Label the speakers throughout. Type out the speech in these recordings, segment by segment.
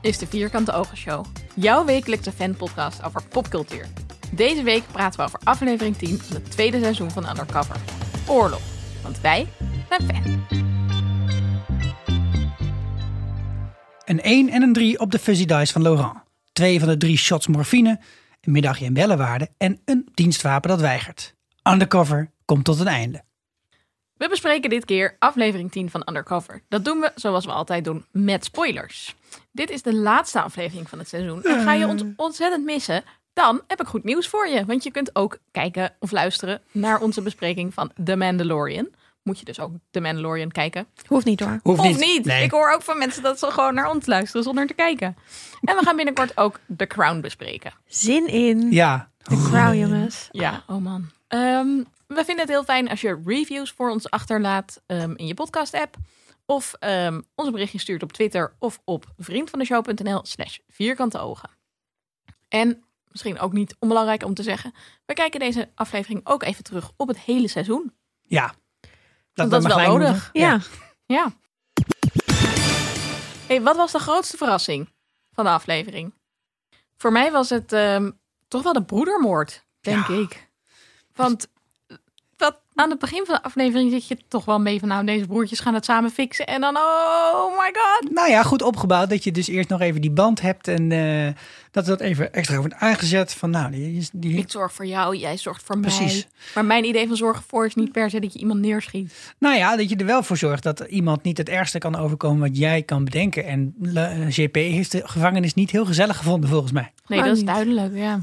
Speaker 1: is de Vierkante Ogen Show, jouw wekelijkse fanpodcast over popcultuur. Deze week praten we over aflevering 10 van het tweede seizoen van Undercover. Oorlog, want wij zijn fan.
Speaker 2: Een 1 en een 3 op de Fuzzy Dice van Laurent. Twee van de drie shots morfine, een middagje in bellenwaarde en een dienstwapen dat weigert. Undercover komt tot een einde.
Speaker 1: We bespreken dit keer aflevering 10 van Undercover. Dat doen we zoals we altijd doen met spoilers. Dit is de laatste aflevering van het seizoen en ga je ons ontzettend missen, dan heb ik goed nieuws voor je. Want je kunt ook kijken of luisteren naar onze bespreking van The Mandalorian. Moet je dus ook The Mandalorian kijken.
Speaker 3: Hoeft niet hoor.
Speaker 2: Hoeft
Speaker 1: Of niet.
Speaker 2: Nee.
Speaker 1: Ik hoor ook van mensen dat ze gewoon naar ons luisteren zonder te kijken. En we gaan binnenkort ook The Crown bespreken.
Speaker 3: Zin in.
Speaker 2: Ja,
Speaker 3: Vrouw jongens.
Speaker 1: Ja, oh man. Ehm, we vinden het heel fijn als je reviews voor ons achterlaat ehm, in je podcast-app. Of ehm, ons een berichtje stuurt op Twitter of op vriendvandeshow.nl slash vierkante ogen. En misschien ook niet onbelangrijk om te zeggen, we kijken deze aflevering ook even terug op het hele seizoen.
Speaker 2: ja.
Speaker 1: Want dat is
Speaker 2: maar
Speaker 1: wel
Speaker 2: gelijk
Speaker 1: nodig.
Speaker 2: moeten.
Speaker 3: Ja.
Speaker 1: Ja. Hey, wat was de grootste verrassing van de aflevering? Voor mij was het ehm, toch wel de broedermoord, denk
Speaker 2: Ja.
Speaker 1: ik. Want dat, aan het begin van de aflevering zit je toch wel mee van... nou, deze broertjes gaan het samen fixen en dan... oh my god.
Speaker 2: Nou ja, goed opgebouwd dat je dus eerst nog even die band hebt en eh, dat dat even extra wordt aangezet. Van nou, die is die.
Speaker 1: Ik zorg voor jou, jij zorgt voor
Speaker 2: Precies.
Speaker 1: mij. Maar mijn idee van zorgen voor is niet per se dat je iemand neerschiet.
Speaker 2: Nou ja, dat je er wel voor zorgt dat iemand niet het ergste kan overkomen wat jij kan bedenken. En eh, JP heeft de gevangenis niet heel gezellig gevonden volgens mij.
Speaker 1: Nee,
Speaker 3: Maar
Speaker 1: dat is
Speaker 3: niet.
Speaker 1: duidelijk, ja.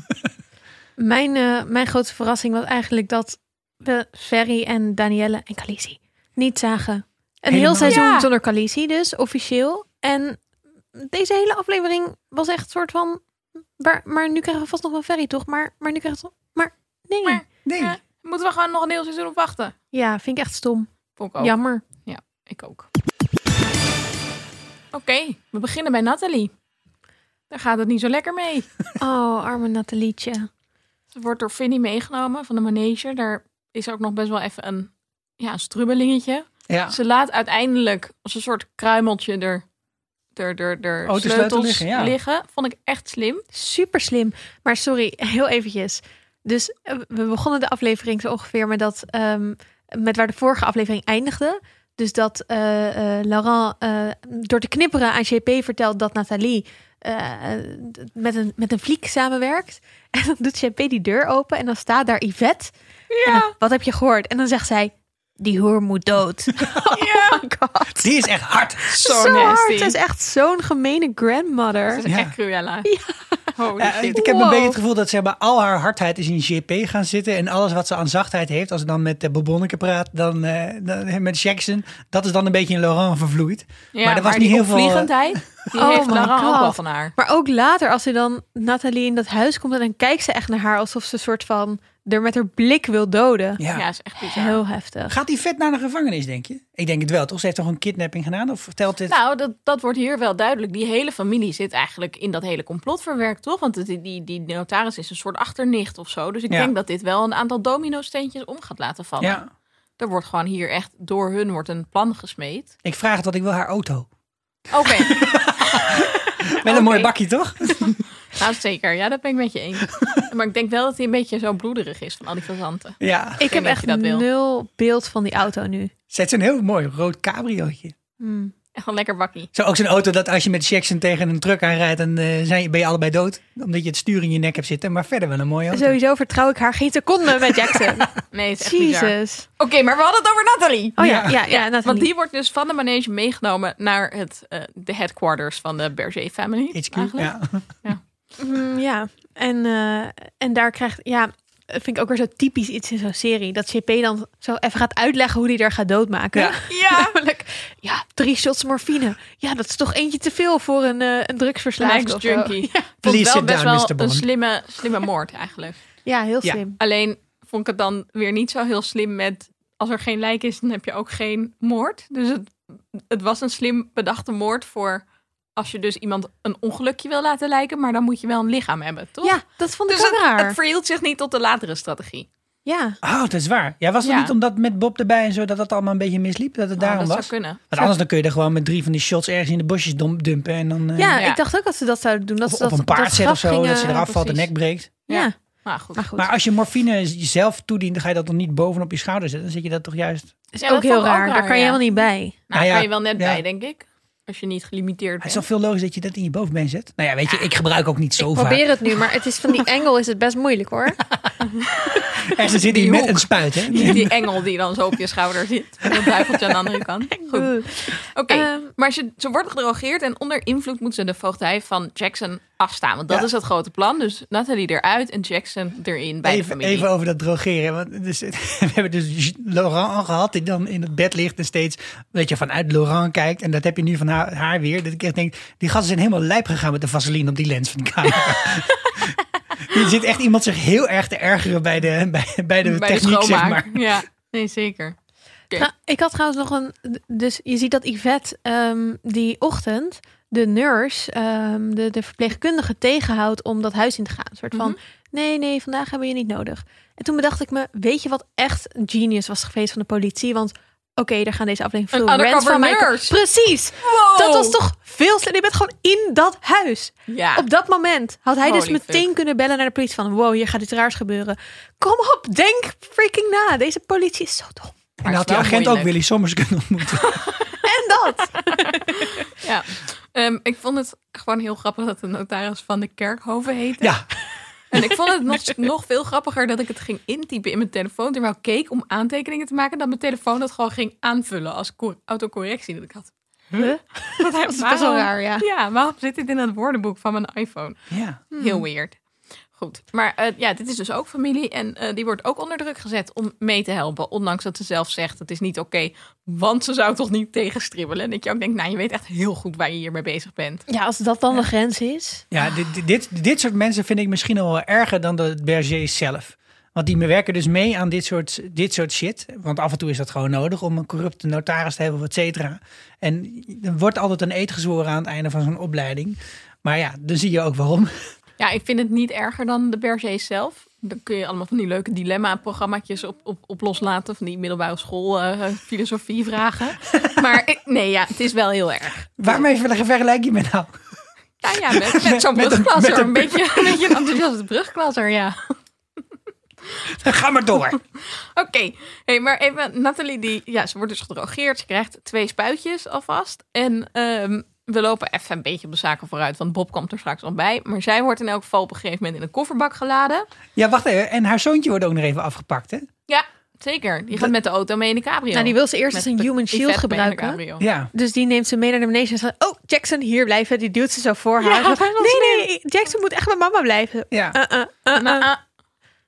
Speaker 3: Mijn, eh, mijn grote verrassing was eigenlijk dat we Ferry en Danielle en Khaleesi niet zagen. Een
Speaker 2: Helemaal.
Speaker 3: heel seizoen
Speaker 1: Ja.
Speaker 3: zonder Khaleesi dus, officieel. En deze hele aflevering was echt een soort van... waar- maar nu krijgen we vast nog wel Ferry, toch? Maar, maar nu krijgen we... toch- Maar nee.
Speaker 1: Maar-
Speaker 2: Nee.
Speaker 1: Ja. Moeten we gewoon nog een heel seizoen op wachten?
Speaker 3: Ja, vind ik echt stom.
Speaker 1: Vond ik ook.
Speaker 3: Jammer.
Speaker 1: Ik ook. Oké, we beginnen bij Nathalie. Daar gaat het niet zo lekker mee.
Speaker 3: Oh, arme Nathalietje.
Speaker 1: Ze wordt door Vinnie meegenomen van de manege. Daar is ook nog best wel even een, ja, een strubbelingetje.
Speaker 2: Ja.
Speaker 1: Ze laat uiteindelijk als een soort kruimeltje er, er, er, er
Speaker 2: Oh, de sleutel
Speaker 1: sleutels
Speaker 2: liggen, ja.
Speaker 1: Vond ik echt slim.
Speaker 3: Super slim. Maar sorry, heel eventjes. Dus eh, we begonnen de aflevering zo ongeveer met dat. ehm, met waar de vorige aflevering eindigde. Dus dat eh, eh, Laurent eh, door te knipperen aan JP vertelt dat Nathalie eh, eh, met, een, met een vliek samenwerkt. En dan doet JP die deur open en dan staat daar Yvette. En dan, wat heb je gehoord? En dan zegt zij, die hoer moet dood.
Speaker 1: ja.
Speaker 3: Oh god.
Speaker 2: Die is echt hard.
Speaker 1: Zo,
Speaker 3: Zo hard.
Speaker 1: nasty.
Speaker 3: Ze is echt zo'n gemene
Speaker 1: Dat
Speaker 3: grandmother.
Speaker 1: is
Speaker 2: Ja.
Speaker 1: echt Cruella. Holy
Speaker 2: Ja,
Speaker 1: shit.
Speaker 2: ik heb een
Speaker 3: Wow.
Speaker 2: beetje het gevoel dat ze bij al haar hardheid is in JP gaan zitten. En alles wat ze aan zachtheid heeft, als ze dan met de Bobonneke praat, dan, eh, dan- met Jackson, dat is dan een beetje in Laurent vervloeid.
Speaker 1: Ja,
Speaker 2: maar er was
Speaker 1: die
Speaker 2: niet heel veel, eh,
Speaker 1: opvliegendheid, die
Speaker 3: Oh
Speaker 1: heeft
Speaker 3: my
Speaker 1: Laurent ook
Speaker 3: God.
Speaker 1: wel van haar.
Speaker 3: Maar ook later, als ze dan Nathalie in dat huis komt, en dan kijkt ze echt naar haar alsof ze een soort van er met haar blik wil doden.
Speaker 1: Ja,
Speaker 2: Ja.
Speaker 1: is echt bizar.
Speaker 3: Heel heftig.
Speaker 2: Gaat die vet naar de gevangenis, denk je? Ik denk het wel, toch? Ze heeft toch een kidnapping gedaan? Of vertelt dit?
Speaker 1: Nou, dat, dat wordt hier wel duidelijk. Die hele familie zit eigenlijk in dat hele complot verwerkt, toch? Want die, die, die notaris is een soort achternicht of zo. Dus ik
Speaker 2: Ja.
Speaker 1: denk dat dit wel een aantal domino-steentjes om gaat laten vallen.
Speaker 2: ja.
Speaker 1: Er wordt gewoon hier echt door hun wordt een plan gesmeed.
Speaker 2: Ik vraag het, want ik wil haar auto.
Speaker 1: Oké,
Speaker 2: Met een mooi bakje, toch?
Speaker 1: nou zeker. Ja, dat ben ik met je eens. Maar ik denk wel dat hij een beetje zo bloederig is van al die fazanten.
Speaker 2: Ja.
Speaker 3: Ik
Speaker 1: denk
Speaker 3: heb
Speaker 1: dat
Speaker 3: echt
Speaker 1: je dat wil.
Speaker 3: nul beeld van die auto nu.
Speaker 2: Ze heeft zo'n heel mooi rood cabriootje.
Speaker 3: Hmm.
Speaker 1: Echt een lekker bakkie.
Speaker 2: Zo ook zo'n auto dat als je met Jackson tegen een truck aanrijdt, dan eh, zijn, je- ben je allebei dood. Omdat je het stuur in je nek hebt zitten. Maar verder wel een mooie auto.
Speaker 3: Sowieso vertrouw ik haar geen seconde met Jackson.
Speaker 1: Nee, het is echt bizar. Oké,
Speaker 3: Jezus.
Speaker 1: maar we hadden het over Nathalie.
Speaker 3: Oh
Speaker 2: Ja.
Speaker 3: ja, ja, ja, Nathalie.
Speaker 1: Want die wordt dus van de manege meegenomen naar het, eh, de headquarters van de Berger family.
Speaker 2: HQ,
Speaker 1: eigenlijk.
Speaker 2: ja.
Speaker 3: Mm, ja, en, eh, en daar krijgt, ja, vind ik ook weer zo typisch iets in zo'n serie. Dat JP dan zo even gaat uitleggen hoe hij er gaat doodmaken.
Speaker 2: Ja.
Speaker 1: Ja,
Speaker 3: Namelijk, ja, drie shots morfine. Ja, dat is toch eentje te veel voor een, eh een drugsverslaafde of zo.
Speaker 1: Lijksjunkie. Vond
Speaker 2: Please
Speaker 1: ik wel
Speaker 2: sit
Speaker 1: best
Speaker 2: down,
Speaker 1: wel
Speaker 2: Mr.
Speaker 1: een
Speaker 2: Bond.
Speaker 1: slimme, slimme moord eigenlijk.
Speaker 3: Ja, heel
Speaker 2: Ja.
Speaker 3: slim.
Speaker 1: Alleen vond ik het dan weer niet zo heel slim met... als er geen lijk is, dan heb je ook geen moord. Dus het, het was een slim bedachte moord voor... als je dus iemand een ongelukje wil laten lijken... maar dan moet je wel een lichaam hebben, toch?
Speaker 3: Ja, dat vond ik
Speaker 1: Dus
Speaker 3: ook
Speaker 1: het,
Speaker 3: raar.
Speaker 1: het verhield zich niet tot de latere strategie.
Speaker 3: Ja.
Speaker 2: Oh, dat is waar. Ja, was het
Speaker 1: Ja.
Speaker 2: niet omdat met Bob erbij en zo dat dat allemaal een beetje misliep? Dat het
Speaker 1: Oh,
Speaker 2: daarom
Speaker 1: dat
Speaker 2: was?
Speaker 1: zou kunnen.
Speaker 2: Want anders dan kun je er gewoon met drie van die shots ergens in de bosjes dom- dumpen. En dan eh,
Speaker 3: ja,
Speaker 1: ja.
Speaker 3: ik dacht ook dat ze dat zouden doen. Dat
Speaker 2: op,
Speaker 3: ze dat,
Speaker 2: op een paard
Speaker 3: dat
Speaker 2: zetten of
Speaker 3: graf
Speaker 2: zo. dat
Speaker 3: gingen-
Speaker 2: ze eraf valt, de
Speaker 1: precies.
Speaker 2: nek breekt.
Speaker 3: Ja,
Speaker 1: Ja. Maar goed.
Speaker 3: maar goed.
Speaker 2: Maar als je morfine zelf toedient, dan ga je dat dan niet bovenop je schouder zetten. Dan zit je dat toch juist...
Speaker 3: is
Speaker 1: Ja,
Speaker 3: ook
Speaker 1: dat
Speaker 3: heel
Speaker 1: vond ik ook
Speaker 3: raar. Daar
Speaker 1: raar,
Speaker 3: kan je
Speaker 1: ja.
Speaker 3: helemaal niet bij.
Speaker 1: Nou,
Speaker 2: ja,
Speaker 1: kan je wel net
Speaker 2: ja.
Speaker 1: bij, denk ik. Als je niet gelimiteerd
Speaker 2: Het is
Speaker 1: bent.
Speaker 2: toch veel logisch dat je dat in je bovenbeen zet? Nou ja, weet je, ik gebruik ook niet zo vaak.
Speaker 3: Probeer het nu, maar het is van die engel is het best moeilijk hoor.
Speaker 2: En ze zit hier
Speaker 1: Die
Speaker 2: met
Speaker 1: hoek.
Speaker 2: een spuit, hè?
Speaker 1: Niet die engel die dan zo op je schouder zit. Met een duiveltje aan de andere kant. Goed. Oké,
Speaker 3: Ehm,
Speaker 1: maar ze, ze worden gedrogeerd en onder invloed moeten ze de voogdij van Jackson afstaan. Want dat
Speaker 2: Ja.
Speaker 1: is het grote plan. Dus Nathalie eruit en Jackson erin bij de
Speaker 2: Even,
Speaker 1: familie.
Speaker 2: even over dat drogeren. Want dus, we hebben dus Laurent gehad, die dan in het bed ligt en steeds dat je vanuit Laurent kijkt. En dat heb je nu van haar, haar weer. Dat ik echt denk, die gasten zijn helemaal lijp gegaan met de vaseline op die lens van de camera. er zit echt iemand zich heel erg te ergeren bij de, bij, bij de
Speaker 1: bij
Speaker 2: techniek,
Speaker 1: de
Speaker 2: zeg
Speaker 1: schoonmaak.
Speaker 2: maar.
Speaker 1: Ja, nee zeker.
Speaker 3: Nou, ik had trouwens nog een. Dus je ziet dat Yvette ehm, die ochtend de nurse, ehm, de, de verpleegkundige, tegenhoudt om dat huis in te gaan. Een soort
Speaker 1: Mhm.
Speaker 3: van: nee, nee, vandaag hebben we je niet nodig. En toen bedacht ik me: weet je wat echt een genius was geweest van de politie? Want oké, daar gaan deze aflevering
Speaker 1: Een
Speaker 3: veel rants
Speaker 1: undercover
Speaker 3: van mij komen.
Speaker 1: nurse.
Speaker 3: Precies. Dat was toch veel slechter. Je bent gewoon in dat huis.
Speaker 1: Ja.
Speaker 3: Op dat moment had hij dus
Speaker 1: Holy
Speaker 3: meteen
Speaker 1: fuck.
Speaker 3: kunnen bellen naar de politie van... wow, hier gaat iets raars gebeuren. Kom op, denk freaking na. Deze politie is zo dom.
Speaker 2: En dan had die
Speaker 1: wel
Speaker 2: agent ook
Speaker 1: moeilijk.
Speaker 2: Willy Sommers kunnen ontmoeten.
Speaker 3: En dat.
Speaker 1: Ja. Ehm, ik vond het gewoon heel grappig dat de notaris van de Kerkhoven heette.
Speaker 2: Ja,
Speaker 1: En ik vond het nog, nog veel grappiger dat ik het ging intypen in mijn telefoon. Terwijl ik keek om aantekeningen te maken. Dat mijn telefoon dat gewoon ging aanvullen als co- autocorrectie. Dat ik had. Dat, hij-
Speaker 3: is best wel raar, ja.
Speaker 1: Ja, waarom zit dit in het woordenboek van mijn iPhone?
Speaker 2: ja.
Speaker 1: Heel weird. Goed. Maar eh, ja, dit is dus ook familie. En eh, die wordt ook onder druk gezet om mee te helpen. Ondanks dat ze zelf zegt, het is niet oké. want ze zou toch niet tegenstribbelen. En dat je ook denkt, nou, je weet echt heel goed waar je hiermee bezig bent.
Speaker 3: Ja, als dat dan de grens is.
Speaker 2: Ja, dit- dit, dit, dit soort mensen vind ik misschien al wel erger dan de Bergers zelf. Want die werken dus mee aan dit soort, dit soort shit. Want af en toe is dat gewoon nodig om een corrupte notaris te hebben of et cetera. En er wordt altijd een eed gezworen aan het einde van zo'n opleiding. Maar ja, dan zie je ook waarom.
Speaker 1: Ja, ik vind het niet erger dan de Bergers zelf. Dan kun je allemaal van die leuke dilemma-programmaatjes op, op, op loslaten. Van die middelbare school eh, filosofie vragen. Maar ik- nee, ja, het is wel heel erg.
Speaker 2: Waarmee ver- vergelijk je me nou?
Speaker 1: Ja, ja met, met zo'n
Speaker 2: Met een-
Speaker 1: brugklasser.
Speaker 2: met
Speaker 1: Een,
Speaker 2: een-
Speaker 1: beetje, een beetje een enthousiaste brugklasser, ja.
Speaker 2: Ga maar door.
Speaker 1: Oké, hey, maar even Nathalie, die, ja, ze wordt dus gedrogeerd. Ze krijgt twee spuitjes alvast. En ehm, we lopen even een beetje op de zaken vooruit, want Bob komt er straks al bij. Maar zij wordt in elk geval op een gegeven moment in een kofferbak geladen.
Speaker 2: Ja, wacht even. En haar zoontje wordt ook nog even afgepakt, hè?
Speaker 1: Ja, zeker. Die gaat met de auto mee in de cabrio.
Speaker 3: Nou, die wil ze eerst
Speaker 1: Met
Speaker 3: als een
Speaker 1: de
Speaker 3: human shield
Speaker 1: Yvette mee in de
Speaker 3: gebruiken.
Speaker 1: cabrio.
Speaker 2: Ja.
Speaker 3: Dus die neemt ze mee naar de beneden en zegt... Oh, Jackson, hier blijven. Die duwt ze zo voor
Speaker 1: Ja,
Speaker 3: haar. Zo,
Speaker 1: wat is dat
Speaker 3: nee, nee, Jackson moet echt bij mama blijven.
Speaker 2: Ja,
Speaker 3: Uh, uh, uh, uh.
Speaker 1: Nou, ah,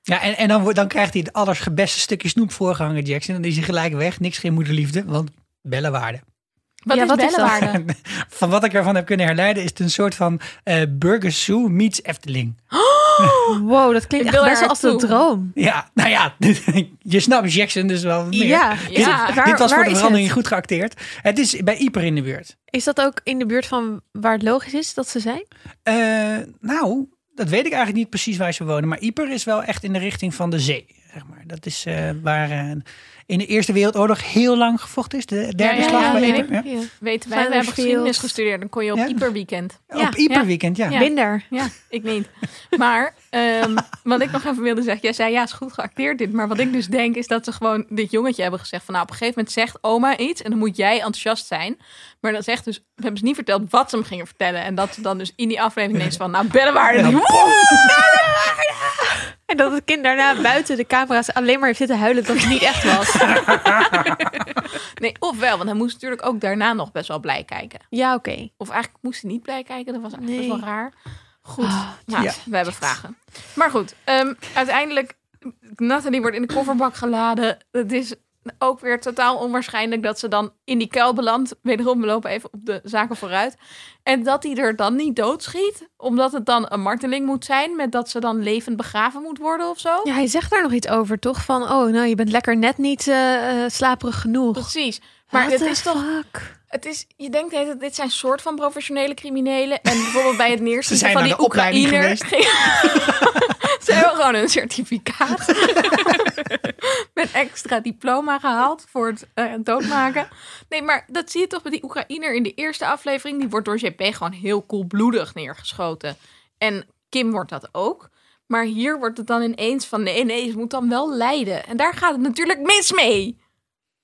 Speaker 2: ja en, en dan, wordt- dan krijgt hij het allersgebeste stukje snoep voorgehangen, Jackson. Dan is hij gelijk weg. Niks geen moederliefde, want bellenwaarde.
Speaker 1: wat
Speaker 3: Ja,
Speaker 1: is
Speaker 3: wat is dat?
Speaker 1: bellenwaarde?
Speaker 2: Van wat ik ervan heb kunnen herleiden, is het een soort van eh Burger Zoo meets Efteling.
Speaker 3: Wow, dat klinkt
Speaker 1: Ik
Speaker 3: echt
Speaker 1: wil
Speaker 3: best wel
Speaker 1: er
Speaker 3: als een
Speaker 1: naartoe.
Speaker 3: droom.
Speaker 2: Ja, nou ja, je snapt Jackson dus wel meer.
Speaker 3: Ja,
Speaker 2: Dit,
Speaker 1: Ja.
Speaker 2: dit
Speaker 3: Waar-
Speaker 2: was
Speaker 3: waar
Speaker 2: voor de
Speaker 3: is
Speaker 2: verandering
Speaker 3: het?
Speaker 2: goed geacteerd. Het is bij Ieper in de buurt.
Speaker 3: Is dat ook in de buurt van waar het logisch is dat ze zijn?
Speaker 2: Eh, nou, dat weet ik eigenlijk niet precies waar ze wonen. Maar Ieper is wel echt in de richting van de zee. Zeg maar. Dat is eh, waar eh, in de Eerste Wereldoorlog heel lang gevochten is. De derde
Speaker 1: Ja,
Speaker 2: slag
Speaker 1: ja,
Speaker 2: bij
Speaker 1: weet
Speaker 2: Ieper. Ja.
Speaker 3: Ja.
Speaker 1: Weten wij,
Speaker 3: Fijn
Speaker 1: we hebben
Speaker 3: field.
Speaker 1: geschiedenis gestudeerd. Dan kon je op
Speaker 2: Ja.
Speaker 1: hyperweekend.
Speaker 3: Ja.
Speaker 2: Op Ieperweekend, ja.
Speaker 1: Ja.
Speaker 3: Minder.
Speaker 1: Ja, ik niet. Maar ehm, wat ik nog even wilde zeggen. Jij zei ja, is goed geacteerd dit. Maar wat ik dus denk is dat ze gewoon dit jongetje hebben gezegd. Van nou, op een gegeven moment zegt oma iets. En dan moet jij enthousiast zijn. Maar dan zegt dus, we hebben ze niet verteld wat ze hem gingen vertellen. En dat ze dan dus in die aflevering ineens van nou, bellenwaarde.
Speaker 2: Ja.
Speaker 3: En dat het kind daarna buiten de camera's alleen maar heeft zitten huilen dat het niet echt was.
Speaker 1: Nee, ofwel, want hij moest natuurlijk ook daarna nog best wel blij kijken.
Speaker 3: Ja, oké.
Speaker 1: Of eigenlijk moest hij niet blij kijken. Dat was eigenlijk
Speaker 3: Nee.
Speaker 1: best wel raar. Goed,
Speaker 3: Ah,
Speaker 1: nou,
Speaker 2: ja.
Speaker 1: we hebben vragen. Maar goed, ehm, uiteindelijk... Nathalie wordt in de kofferbak geladen. Het is ook weer totaal onwaarschijnlijk dat ze dan in die kuil belandt. Wederom, we lopen even op de zaken vooruit. En dat hij er dan niet doodschiet. Omdat het dan een marteling moet zijn. Met dat ze dan levend begraven moet worden of zo.
Speaker 3: Ja, hij zegt daar nog iets over, toch? Van, oh, nou, je bent lekker net niet eh, eh, slaperig genoeg.
Speaker 1: Precies. Maar
Speaker 3: What
Speaker 1: het
Speaker 3: the
Speaker 1: is toch
Speaker 3: fuck?
Speaker 1: Het is, je denkt, de hele tijd, dit zijn soort van professionele criminelen. En bijvoorbeeld bij het neerschieten
Speaker 2: Ze zijn
Speaker 1: van
Speaker 2: naar
Speaker 1: die
Speaker 2: de opleiding
Speaker 1: Oekraïners. Ze hebben gewoon een certificaat met extra diploma gehaald voor het eh, doodmaken. Nee, maar dat zie je toch bij die Oekraïner in de eerste aflevering. Die wordt door JP gewoon heel koelbloedig neergeschoten. En Kim wordt dat ook. Maar hier wordt het dan ineens van nee, nee, ze moet dan wel lijden. En daar gaat het natuurlijk mis mee.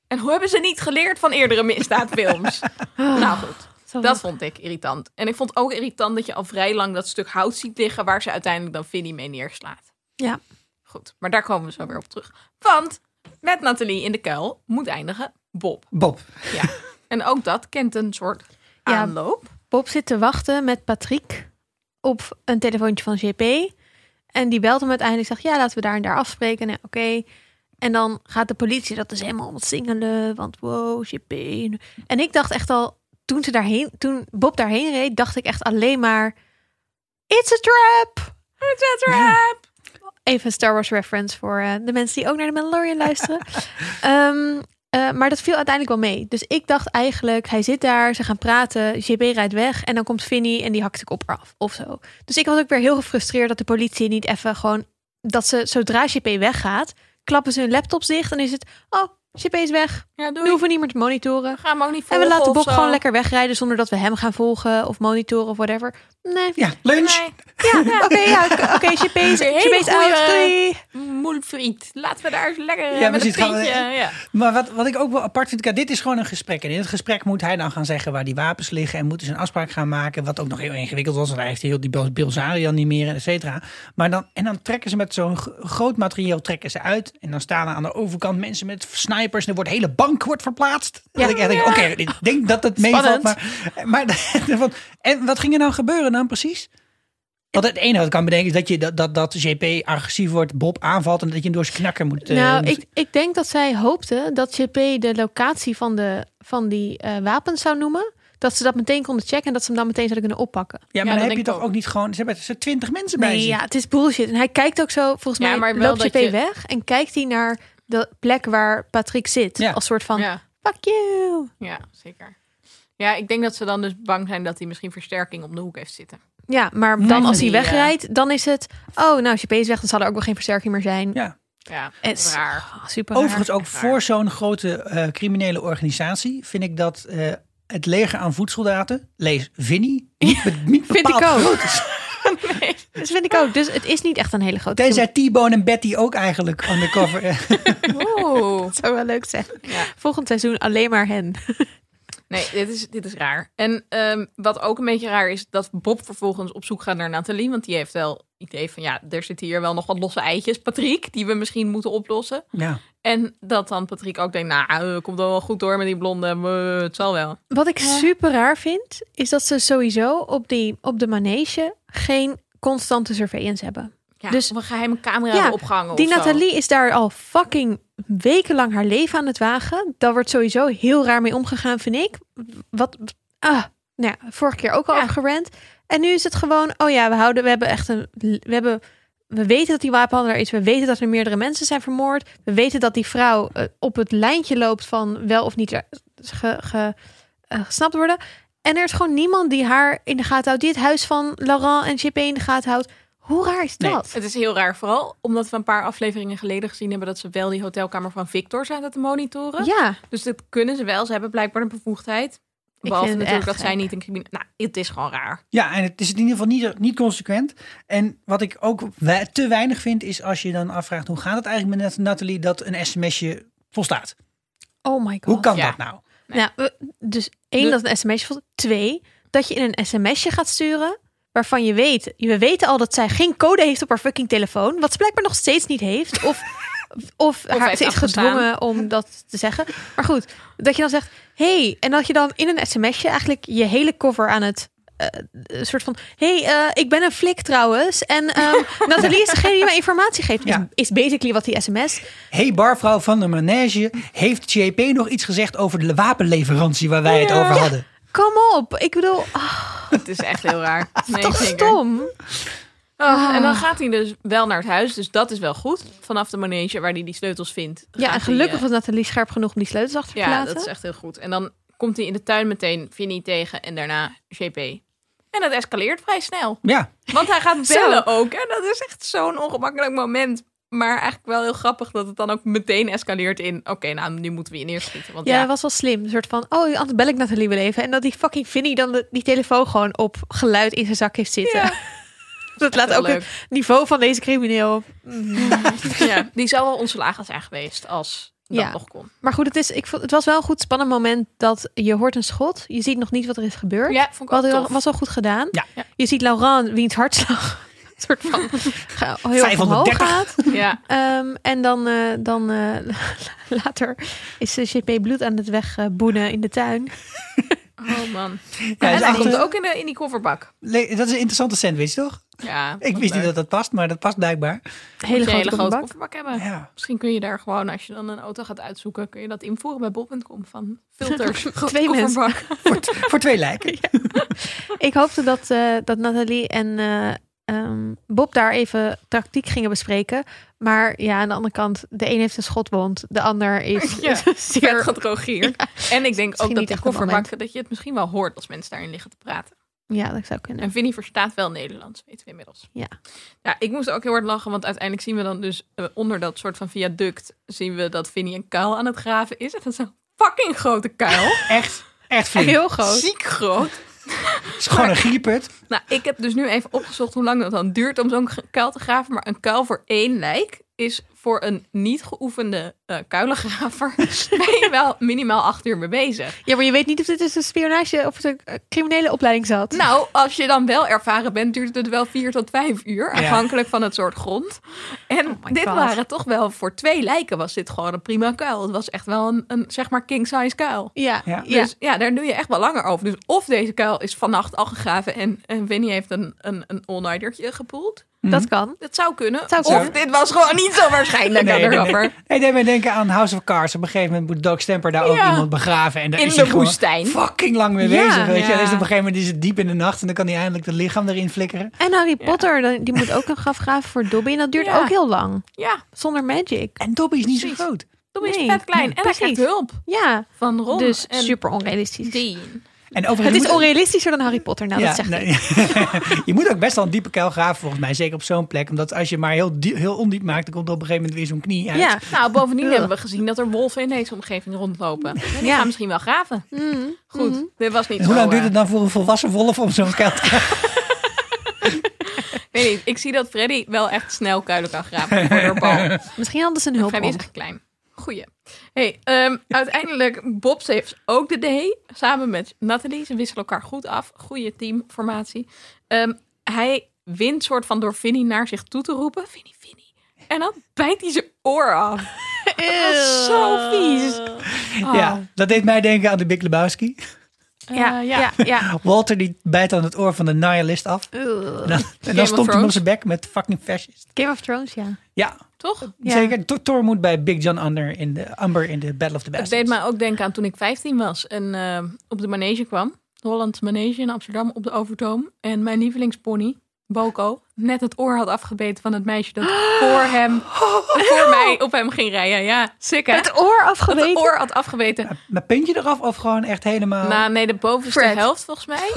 Speaker 1: En hoe hebben ze niet geleerd van eerdere misdaadfilms? nou goed.
Speaker 3: Zo
Speaker 1: Dat vond ik irritant. En ik vond ook irritant dat je al vrij lang dat stuk hout ziet liggen waar ze uiteindelijk dan Vinnie mee neerslaat.
Speaker 3: Ja.
Speaker 1: Goed, maar daar komen we zo weer op terug. Want met Nathalie in de kuil moet eindigen Bob.
Speaker 2: Bob.
Speaker 1: Ja. en ook dat kent een soort
Speaker 3: Ja.
Speaker 1: aanloop.
Speaker 3: Bob zit te wachten met Patrick op een telefoontje van JP. En die belt hem uiteindelijk. Zegt ja, laten we daar en daar afspreken. Nou, oké. En dan gaat de politie dat is helemaal ontsingelen. Want wow, JP. En ik dacht echt al, toen, ze daarheen, toen Bob daarheen reed, dacht ik echt alleen maar... It's a trap!
Speaker 1: It's a trap!
Speaker 3: Even een Star Wars reference voor eh, de mensen die ook naar de Mandalorian luisteren. Ehm, eh, maar dat viel uiteindelijk wel mee. Dus ik dacht eigenlijk, hij zit daar, ze gaan praten, JB rijdt weg en dan komt Vinny en die hakt de kop eraf of zo. Dus ik was ook weer heel gefrustreerd dat de politie niet even gewoon, dat ze zodra JP weggaat, klappen ze hun laptops dicht en is het, oh, JP is weg,
Speaker 1: Ja, doei.
Speaker 3: nu hoeven we niet meer te monitoren.
Speaker 1: Gaan we ook niet
Speaker 3: En
Speaker 1: volgen
Speaker 3: we laten
Speaker 1: of
Speaker 3: Bob
Speaker 1: zo.
Speaker 3: gewoon lekker wegrijden zonder dat we hem gaan volgen of monitoren of whatever. Nee.
Speaker 2: Ja, lunch.
Speaker 1: Nee,
Speaker 3: Ja, oké, ja, oké, JP is,
Speaker 1: Weer
Speaker 3: JP is
Speaker 1: hele
Speaker 3: uit,
Speaker 1: goeie-
Speaker 3: doei.
Speaker 1: moelfriet. Laten we daar eens lekker eh,
Speaker 2: Ja,
Speaker 1: met een
Speaker 2: precies. Gaan we-
Speaker 1: vriendje. Ja.
Speaker 2: Maar wat, wat ik ook wel apart vind, kijk, dit is gewoon een gesprek. En in het gesprek moet hij dan gaan zeggen waar die wapens liggen. En moeten ze een afspraak gaan maken. Wat ook nog heel ingewikkeld was. Want hij heeft heel die Bel- Bilzarian niet meer, et cetera. Maar dan, en dan trekken ze met zo'n g- groot materieel trekken ze uit. En dan staan er aan de overkant mensen met snipers. En er wordt hele bank wordt verplaatst.
Speaker 3: Ja.
Speaker 2: Dat ik echt denk, oké, ik denk dat het meevalt.
Speaker 1: Spannend.
Speaker 2: Maar, maar, want- en wat ging er nou gebeuren dan precies? Want het enige wat ik kan bedenken is dat, je, dat, dat, dat JP agressief wordt, Bob aanvalt en dat je hem door zijn knakker moet... eh,
Speaker 3: Nou,
Speaker 2: moet-
Speaker 3: ik, ik denk dat zij hoopte dat JP de locatie van, de, van die eh, wapens zou noemen. Dat ze dat meteen konden checken en dat ze hem dan meteen zouden kunnen oppakken.
Speaker 2: Ja,
Speaker 1: Ja,
Speaker 2: maar
Speaker 1: dat
Speaker 2: dan heb je
Speaker 1: denk ik
Speaker 2: toch
Speaker 1: ook.
Speaker 2: ook niet gewoon... Ze hebben er twintig mensen bij
Speaker 3: Nee,
Speaker 2: zich.
Speaker 3: ja, het is bullshit. En hij kijkt ook zo, volgens
Speaker 1: Ja,
Speaker 3: mij
Speaker 1: maar wel
Speaker 3: loopt
Speaker 1: dat
Speaker 3: JP
Speaker 1: je-
Speaker 3: weg en kijkt hij naar de plek waar Patrick zit.
Speaker 2: Ja.
Speaker 3: Als soort van,
Speaker 1: Ja.
Speaker 3: fuck you.
Speaker 1: ja, zeker. Ja, ik denk dat ze dan dus bang zijn dat hij misschien versterking om de hoek heeft zitten.
Speaker 3: Ja, maar
Speaker 2: Nee, eh,
Speaker 3: dan als hij
Speaker 1: die,
Speaker 3: wegrijdt, dan is het, oh, nou, JP is weg, dan zal er ook wel geen versterking meer zijn.
Speaker 2: Ja.
Speaker 1: Ja,
Speaker 3: Het is
Speaker 1: raar.
Speaker 3: oh, super
Speaker 2: Overigens ook
Speaker 1: Raar.
Speaker 2: voor zo'n grote eh, criminele organisatie... vind ik dat eh, het leger aan voedsoldaten... lees Vinnie, niet, be- niet
Speaker 3: Vind
Speaker 2: bepaald
Speaker 3: ik ook.
Speaker 2: groot is.
Speaker 3: raar. Dat vind ik ook. Dus het is niet echt een hele grote...
Speaker 2: Tenzij T-Bone en Betty ook eigenlijk undercover... eh,
Speaker 1: Oeh.
Speaker 3: Dat zou wel leuk zijn.
Speaker 1: Ja.
Speaker 3: Volgend seizoen alleen maar hen.
Speaker 1: Nee, dit is, dit is raar. En ehm, wat ook een beetje raar is, dat Bob vervolgens op zoek gaat naar Nathalie. Want die heeft wel idee van, ja, er zitten hier wel nog wat losse eitjes, Patrick, die we misschien moeten oplossen.
Speaker 2: ja.
Speaker 1: En dat dan Patrick ook denkt, nou, eh, komt dan wel goed door met die blonde, eh, het zal wel.
Speaker 3: Wat ik
Speaker 1: Ja.
Speaker 3: super raar vind, is dat ze sowieso op, die, op de manege geen constante surveillance hebben.
Speaker 1: Ja,
Speaker 3: Dus-
Speaker 1: dus we geheime camera
Speaker 3: Ja,
Speaker 1: hebben opgehangen
Speaker 3: die
Speaker 1: of zo.
Speaker 3: Nathalie is daar al fucking wekenlang haar leven aan het wagen. Daar wordt sowieso heel raar mee omgegaan, vind ik. Wat, ah, nou ja, vorige keer ook al
Speaker 1: Ja.
Speaker 3: afgerend. En nu is het gewoon, oh ja, we houden, we hebben echt een, we hebben, we weten dat die wapenhandelaar is. We weten dat er meerdere mensen zijn vermoord. We weten dat die vrouw eh, op het lijntje loopt van wel of niet eh, ge, ge, eh, gesnapt worden. En er is gewoon niemand die haar in de gaten houdt. Die het huis van Laurent en JP in de gaten houdt. Hoe raar is
Speaker 2: Nee.
Speaker 3: dat?
Speaker 1: Het is heel raar, vooral omdat we een paar afleveringen geleden gezien hebben dat ze wel die hotelkamer van Victor zaten te monitoren.
Speaker 3: Ja.
Speaker 1: Dus dat kunnen ze wel. Ze hebben blijkbaar een bevoegdheid.
Speaker 3: het
Speaker 1: Behalve natuurlijk
Speaker 3: echt
Speaker 1: dat zij
Speaker 3: gek.
Speaker 1: niet een crimineel... Nou, het is gewoon raar.
Speaker 2: Ja, en het is in ieder geval niet, niet consequent. En wat ik ook we- te weinig vind, is als je dan afvraagt... hoe gaat het eigenlijk met Nathalie dat een sms'je volstaat?
Speaker 3: Oh my god.
Speaker 2: Hoe kan
Speaker 1: Ja.
Speaker 2: dat nou?
Speaker 3: Nou, we- dus één,
Speaker 1: De-
Speaker 3: dat het een sms'je valt. Twee, dat je in een sms'je gaat sturen waarvan je weet... We weten al dat zij geen code heeft op haar fucking telefoon. Wat ze blijkbaar nog steeds niet heeft. Of, of,
Speaker 1: heeft
Speaker 3: haar, ze is
Speaker 1: afgestaan.
Speaker 3: gedwongen om dat te zeggen. Maar goed, dat je dan zegt... hey, en dat je dan in een sms'je eigenlijk je hele cover aan het... eh, een soort van, hey, eh, ik ben een flik trouwens. En ehm Nathalie is degene die mij informatie geeft.
Speaker 2: Ja.
Speaker 3: Is, is basically wat die sms.
Speaker 2: Hey barvrouw van de manege, heeft JP nog iets gezegd over de wapenleverantie waar wij het over hadden?
Speaker 3: Kom op. Ik bedoel, ah,
Speaker 1: Het is echt heel raar. Nee,
Speaker 3: toch
Speaker 1: zeker.
Speaker 3: stom.
Speaker 1: Ah, En dan gaat hij dus wel naar het huis, dus dat is wel goed. Vanaf de manege waar hij die sleutels vindt.
Speaker 3: Ja,
Speaker 1: gaat
Speaker 3: en
Speaker 1: hij,
Speaker 3: gelukkig
Speaker 1: eh,
Speaker 3: was Nathalie scherp genoeg om die sleutels achter te
Speaker 1: Ja,
Speaker 3: plaatsen.
Speaker 1: dat is echt heel goed. En dan komt hij in de tuin meteen Vinnie tegen en daarna JP. En En dat escaleert vrij snel.
Speaker 2: Ja,
Speaker 1: Want hij gaat
Speaker 3: Zo.
Speaker 1: bellen ook. En dat is echt zo'n ongemakkelijk moment. Maar eigenlijk wel heel grappig dat het dan ook meteen escaleert in... Oké, nou, nu moeten we je neerschieten. Want
Speaker 3: Ja,
Speaker 1: ja,
Speaker 3: dat was wel slim. Een soort van, oh, anders bel ik Nathalie wel even. En dat die fucking Vinnie dan de- die telefoon gewoon op geluid in zijn zak heeft zitten.
Speaker 1: Ja.
Speaker 3: dat laat
Speaker 1: heel
Speaker 3: ook het niveau van deze crimineel. Mm.
Speaker 1: ja, die zou wel ontslagen zijn geweest als dat
Speaker 3: Ja.
Speaker 1: nog kon.
Speaker 3: maar goed, het, is, ik vond, het was wel een goed spannend moment dat je hoort een schot. Je ziet nog niet wat er is gebeurd.
Speaker 1: Ja, vond ik
Speaker 3: Wat
Speaker 1: ook
Speaker 3: heel-
Speaker 1: tof.
Speaker 3: was al goed gedaan.
Speaker 2: Ja.
Speaker 1: Ja.
Speaker 3: Je ziet Laurent, wiens hartslag een soort van ga- heel erg omhoog
Speaker 2: 530.
Speaker 3: gaat.
Speaker 1: Ja,
Speaker 3: Ehm, en dan, eh, dan eh, later is de GP bloed aan het wegboenen in de tuin.
Speaker 1: oh man.
Speaker 2: hij is
Speaker 1: en hij
Speaker 2: achter-
Speaker 1: komt ook in, de, in die kofferbak.
Speaker 2: Le- dat is een interessante sandwich, toch?
Speaker 1: Ja,
Speaker 2: Ik wist niet dat dat past, maar dat past blijkbaar.
Speaker 1: hele
Speaker 3: Hele
Speaker 1: grote,
Speaker 3: grote,
Speaker 1: hele grote
Speaker 3: kofferbak.
Speaker 1: kofferbak hebben.
Speaker 2: Ja.
Speaker 1: Misschien kun je daar gewoon, als je dan een auto gaat uitzoeken... kun je dat invoeren bij bol.com van filters. grote
Speaker 3: Twee mensen.
Speaker 1: kofferbak.
Speaker 2: Voor, t- voor twee lijken.
Speaker 3: Ik hoopte dat, eh, dat Nathalie en eh, ehm, Bob daar even tactiek gingen bespreken. Maar ja, aan de andere kant, de een heeft een schotwond, de ander is
Speaker 1: Ja, werd
Speaker 3: zeer...
Speaker 1: gedrogeerd. En ik denk
Speaker 3: Misschien
Speaker 1: ook dat
Speaker 3: niet
Speaker 1: die
Speaker 3: echt het
Speaker 1: kofferbak, dat je het misschien wel hoort als mensen daarin liggen te praten.
Speaker 3: Ja, dat zou kunnen.
Speaker 1: En Vinnie verstaat wel Nederlands, weten we inmiddels.
Speaker 3: Ja.
Speaker 1: Ja, ik moest ook heel hard lachen, want uiteindelijk zien we dan dus eh, onder dat soort van viaduct zien we dat Vinnie een kuil aan het graven is. En dat is een fucking grote kuil.
Speaker 2: Echt, echt flink.
Speaker 3: Heel groot.
Speaker 1: Ziek groot.
Speaker 2: Het is gewoon een gierput.
Speaker 1: Nou, ik heb dus nu even opgezocht hoe lang dat dan duurt om zo'n ge- kuil te graven. Maar een kuil voor één lijk is voor een niet geoefende eh, kuilengraver ben je wel minimaal acht uur mee bezig.
Speaker 3: Ja, maar je weet niet of dit dus een spionage of een eh, criminele opleiding zat.
Speaker 1: Nou, als je dan wel ervaren bent, duurt het wel vier tot vijf uur,
Speaker 2: Ja.
Speaker 1: afhankelijk van het soort grond. En
Speaker 3: Oh my
Speaker 1: dit
Speaker 3: God.
Speaker 1: waren toch wel voor twee lijken was dit gewoon een prima kuil. Het was echt wel een, een zeg maar king size kuil.
Speaker 3: ja,
Speaker 2: Ja.
Speaker 3: ja.
Speaker 1: Dus ja, daar doe je echt wel langer over. Dus of deze kuil is vannacht al gegraven en, en Winnie heeft een, een, een all-nightertje gepoeld.
Speaker 3: dat kan.
Speaker 1: Dat zou kunnen.
Speaker 3: zou
Speaker 1: of
Speaker 3: kunnen.
Speaker 1: dit was gewoon niet zo waarschijnlijk aan
Speaker 2: Nee,
Speaker 1: de
Speaker 2: nee, nee.
Speaker 1: rapper.
Speaker 2: Hey, deed mij denken aan House of Cards. Op een gegeven moment moet Doug Stamper daar ook
Speaker 1: Ja.
Speaker 2: iemand begraven. En daar
Speaker 1: In
Speaker 2: is
Speaker 1: de
Speaker 2: hij gewoon
Speaker 1: woestijn.
Speaker 2: fucking lang mee
Speaker 3: Ja.
Speaker 2: bezig. Weet je?
Speaker 1: Ja.
Speaker 2: En is op een gegeven moment is het diep in de nacht. En dan kan hij eindelijk het lichaam erin flikkeren.
Speaker 3: En Harry Potter, dan- die moet ook een graf graven voor Dobby. En dat duurt
Speaker 1: Ja.
Speaker 3: ook heel lang.
Speaker 1: Ja,
Speaker 3: Zonder magic.
Speaker 2: En Dobby is niet zo
Speaker 1: Precies.
Speaker 2: groot.
Speaker 1: Dobby is
Speaker 3: Nee,
Speaker 1: vet klein. en hij
Speaker 3: precies.
Speaker 1: krijgt hulp
Speaker 3: Ja,
Speaker 1: van Ron
Speaker 3: dus
Speaker 1: en
Speaker 3: super onrealistisch.
Speaker 1: Dean.
Speaker 2: En overigens
Speaker 3: Het is
Speaker 2: moet-
Speaker 3: onrealistischer dan Harry Potter, nou, dat zeg ik.
Speaker 2: nee. je moet ook best wel een diepe kuil graven, volgens mij. Zeker op zo'n plek. Omdat als je maar heel, die- heel ondiep maakt, dan komt er op een gegeven moment weer zo'n knie uit.
Speaker 3: Ja,
Speaker 1: Nou, bovendien
Speaker 3: Ugh.
Speaker 1: hebben we gezien dat er wolven in deze omgeving rondlopen. En die
Speaker 3: Ja.
Speaker 1: gaan misschien wel graven.
Speaker 3: Mm.
Speaker 1: Goed,
Speaker 3: Mhm.
Speaker 1: dit was niet
Speaker 2: En hoe
Speaker 1: zo,
Speaker 2: lang duurt
Speaker 1: eh,
Speaker 2: het dan voor een volwassen wolf om zo'n kuil te graven?
Speaker 1: weet niet, ik zie dat Freddy wel echt snel kuilen kan graven voor haar bal.
Speaker 3: Misschien hadden ze een hulp.
Speaker 1: Freddy is echt klein. Goeie. Hey, ehm, uiteindelijk, Bob heeft ook de D. Samen met Nathalie. Ze wisselen elkaar goed af. Goede teamformatie. Ehm, hij wint soort van door Vinnie naar zich toe te roepen. Vinnie, Vinnie. En dan bijt hij zijn oor af. Dat is zo vies. Ah,
Speaker 2: Ja, dat deed mij denken aan de Big Lebowski.
Speaker 1: eh,
Speaker 3: Ja, ja, ja.
Speaker 2: Walter die bijt aan het oor van de nihilist af.
Speaker 3: Oh,
Speaker 2: En dan, en dan
Speaker 1: of
Speaker 2: stond hij
Speaker 1: Thrones.
Speaker 2: op zijn bek met fucking fascist.
Speaker 3: Game of Thrones, ja.
Speaker 2: Ja,
Speaker 1: toch?
Speaker 3: Ja.
Speaker 2: zeker. Thor- Thor moet bij Big John Under in de Amber in de Battle of the
Speaker 1: Het
Speaker 2: Bastards.
Speaker 1: deed mij ook denken aan toen ik 15 was en eh, op de manege kwam. De Holland Manege in Amsterdam op de Overtoom. En mijn lievelingspony, Boko, net het oor had afgebeten van het meisje dat voor hem, voor mij op hem ging rijden. Ja, sick hè?
Speaker 3: Het oor
Speaker 1: Dat
Speaker 3: afgeweten.
Speaker 1: het oor had afgebeten.
Speaker 2: Maar puntje eraf of gewoon echt helemaal...
Speaker 1: Nou, nee, de bovenste
Speaker 3: Fred.
Speaker 1: helft volgens mij.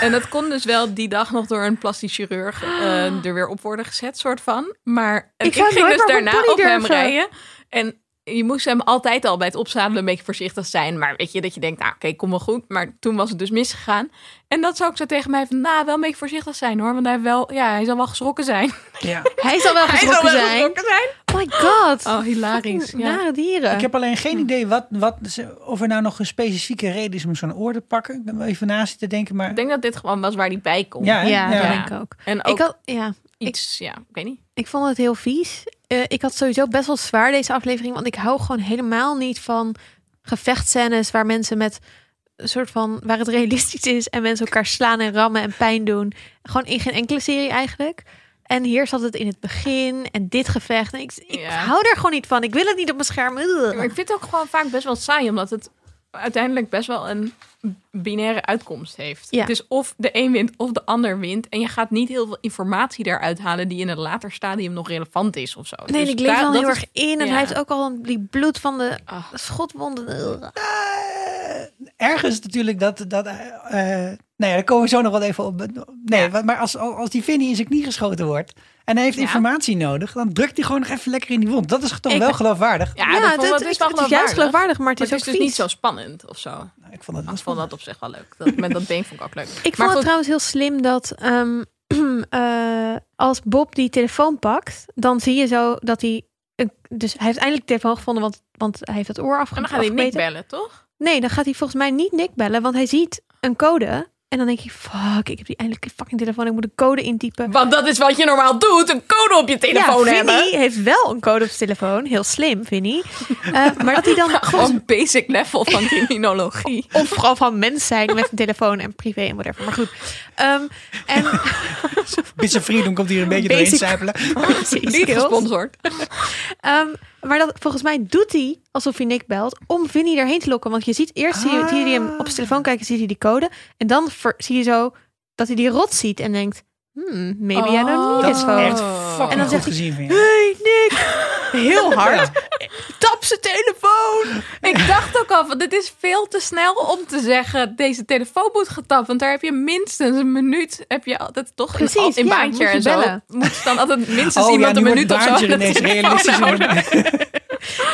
Speaker 1: En dat kon dus wel die dag nog door een plastisch chirurg eh, er weer op worden gezet, soort van. Maar en
Speaker 3: Ah. Ik
Speaker 1: ik,
Speaker 3: zou
Speaker 1: ging
Speaker 3: nooit
Speaker 1: dus
Speaker 3: meer op een
Speaker 1: daarna
Speaker 3: pony
Speaker 1: op hem
Speaker 3: durven.
Speaker 1: rijden. En je moest hem altijd al bij het opzadelen een beetje voorzichtig zijn. Maar weet je, dat je denkt, nou oké, kom wel goed. Maar toen was het dus misgegaan. En dat zou ik zo tegen mij van, nou, wel een beetje voorzichtig zijn hoor. Want hij, heeft wel, ja, hij zal wel geschrokken zijn.
Speaker 2: Ja.
Speaker 3: Hij zal wel geschrokken zijn.
Speaker 1: zijn.
Speaker 3: Oh my god.
Speaker 1: Oh, hilarisch.
Speaker 3: Fucking
Speaker 1: Ja.
Speaker 3: Nare dieren.
Speaker 2: Ik heb alleen geen
Speaker 1: Hm.
Speaker 2: idee wat, wat, ze- of er nou nog een specifieke reden is om zo'n oor te pakken. Ik ben wel even na zitten denken, maar...
Speaker 1: Ik denk dat dit gewoon was waar hij bij kon.
Speaker 2: Ja, hè?
Speaker 3: ja, dat
Speaker 1: ja.
Speaker 3: denk ik ook.
Speaker 1: En ook
Speaker 3: Ik, had, ja,
Speaker 1: iets, ja, ik weet niet.
Speaker 3: ik vond het heel vies. Eh, ik had sowieso best wel zwaar deze aflevering. Want ik hou gewoon helemaal niet van gevechtscènes waar mensen met een soort van waar het realistisch is en mensen elkaar slaan en rammen en pijn doen. Gewoon in geen enkele serie eigenlijk. En hier zat het in het begin en dit gevecht. En ik, ik
Speaker 1: Ja.
Speaker 3: hou er gewoon niet van. Ik wil het niet op mijn scherm. Ugh.
Speaker 1: Ja, Maar ik vind het ook gewoon vaak best wel saai, omdat het uiteindelijk best wel een binaire uitkomst heeft.
Speaker 3: Ja.
Speaker 1: Het is of de een wint of de ander wint. En je gaat niet heel veel informatie daaruit halen die in een later stadium nog relevant is of zo.
Speaker 3: Nee,
Speaker 1: Dus
Speaker 3: ik leef
Speaker 1: daar-
Speaker 3: wel
Speaker 1: dat
Speaker 3: heel
Speaker 1: is-
Speaker 3: erg in. En
Speaker 1: ja.
Speaker 3: hij heeft ook al die bloed van de
Speaker 1: Ach.
Speaker 3: schotwonden. Ugh.
Speaker 2: Eh, ergens natuurlijk dat... dat eh, eh, nou ja, daar komen we zo nog wel even op. Nee,
Speaker 1: Ja.
Speaker 2: wat- maar als, als die Vinnie in zijn knie geschoten wordt... en hij heeft
Speaker 1: Ja.
Speaker 2: informatie nodig... dan drukt hij gewoon nog even lekker in die wond. Dat is toch
Speaker 3: Ik-
Speaker 2: wel geloofwaardig?
Speaker 1: Ja, dat vond ik-
Speaker 3: dat-
Speaker 1: het is wel
Speaker 3: het is juist
Speaker 1: geloofwaardig.
Speaker 3: geloofwaardig, maar het
Speaker 1: Maar
Speaker 3: is
Speaker 1: het
Speaker 3: ook
Speaker 1: is dus niet
Speaker 3: vies.
Speaker 1: zo spannend of zo.
Speaker 2: Nou, ik vond het
Speaker 1: Ik vond dat op zich wel leuk. Dat, met dat been vond ik ook leuk.
Speaker 3: Ik
Speaker 1: maar
Speaker 3: vond het
Speaker 1: goed,
Speaker 3: trouwens heel slim dat ehm, eh, als Bob die telefoon pakt, dan zie je zo dat hij. een- Dus hij heeft eindelijk de telefoon gevonden, want, want hij heeft het oor afge-
Speaker 1: en dan gaat hij niet
Speaker 3: afgemeten.
Speaker 1: bellen, toch?
Speaker 3: Nee, dan gaat hij volgens mij niet Nick bellen, want hij ziet een code. En dan denk je, fuck, ik heb die eindelijk een fucking telefoon. Ik moet een code intypen.
Speaker 1: Want dat is wat je normaal doet: een code op je telefoon
Speaker 3: ja,
Speaker 1: hebben.
Speaker 3: Vinnie heeft wel een code op zijn telefoon. Heel slim, Vinnie. Eh, maar dat hij dan
Speaker 1: Gewoon basic level van criminologie.
Speaker 3: Of vooral van mens zijn met een telefoon en privé en whatever. Maar goed. Ehm, en
Speaker 1: Oh,
Speaker 2: Bitse Freedom komt hier een beetje doorheen
Speaker 3: Basic-
Speaker 2: sijpelen.
Speaker 3: precies,
Speaker 1: Niet
Speaker 3: skills.
Speaker 1: gesponsord.
Speaker 3: Ehm, maar dat, volgens mij doet hij alsof hij Nick belt om Vinnie erheen te lokken. Want je ziet eerst zie je,
Speaker 2: Ah.
Speaker 3: zie je hem op zijn telefoon kijken, ziet hij die code. En dan ver- zie je zo dat hij die rot ziet en denkt, hmm, maybe I don't need
Speaker 1: Oh.
Speaker 2: Dat
Speaker 3: this
Speaker 2: is
Speaker 3: phone.
Speaker 2: echt fucking
Speaker 3: En dan
Speaker 2: goed
Speaker 3: zegt hij-
Speaker 2: gezien van je.
Speaker 3: Hey Nick, heel hard. Tap zijn telefoon.
Speaker 1: Ik dacht ook al, van, dit is veel te snel om te zeggen, deze telefoon moet getapt. Want daar heb je minstens een minuut, heb je altijd toch in-
Speaker 3: Precies,
Speaker 1: in
Speaker 3: ja,
Speaker 1: baantje
Speaker 3: moet je
Speaker 1: en zo.
Speaker 3: bellen.
Speaker 1: Moet je dan altijd minstens
Speaker 2: Oh ja,
Speaker 1: iemand
Speaker 2: nu
Speaker 1: een
Speaker 2: wordt
Speaker 1: minuut of zo.
Speaker 2: Baantje
Speaker 1: aan de
Speaker 2: ineens
Speaker 1: telefoon
Speaker 2: realistisch.
Speaker 1: houden.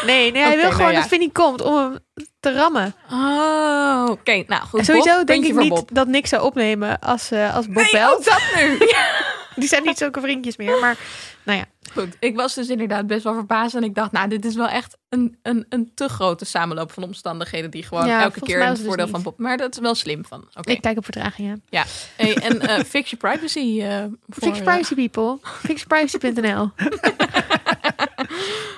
Speaker 3: Nee, nee hij
Speaker 1: Oké,
Speaker 3: wil
Speaker 1: nou
Speaker 3: gewoon
Speaker 1: ja.
Speaker 3: dat Vinnie komt om hem te rammen.
Speaker 1: Oh, oké. Nou, goed.
Speaker 3: En sowieso
Speaker 1: Bob,
Speaker 3: denk
Speaker 1: puntje
Speaker 3: ik
Speaker 1: voor
Speaker 3: niet
Speaker 1: Bob.
Speaker 3: dat Nick zou opnemen als, eh, als Bob
Speaker 1: Nee,
Speaker 3: belt.
Speaker 1: ook dat nu.
Speaker 3: Die zijn niet zulke vriendjes meer, maar nou ja.
Speaker 1: Goed, ik was dus inderdaad best wel verbaasd. En ik dacht, nou, dit is wel echt een, een, een te grote samenloop van omstandigheden. die gewoon
Speaker 3: Ja,
Speaker 1: elke
Speaker 3: volgens
Speaker 1: keer
Speaker 3: mij
Speaker 1: in
Speaker 3: was
Speaker 1: het
Speaker 3: het dus
Speaker 1: voordeel van Bob. Maar dat is wel slim van. Oké.
Speaker 3: Ik kijk op vertragingen.
Speaker 1: Ja. Hey, en eh fix je privacy. eh, voor,
Speaker 3: Fix privacy people. Fixprivacy.nl.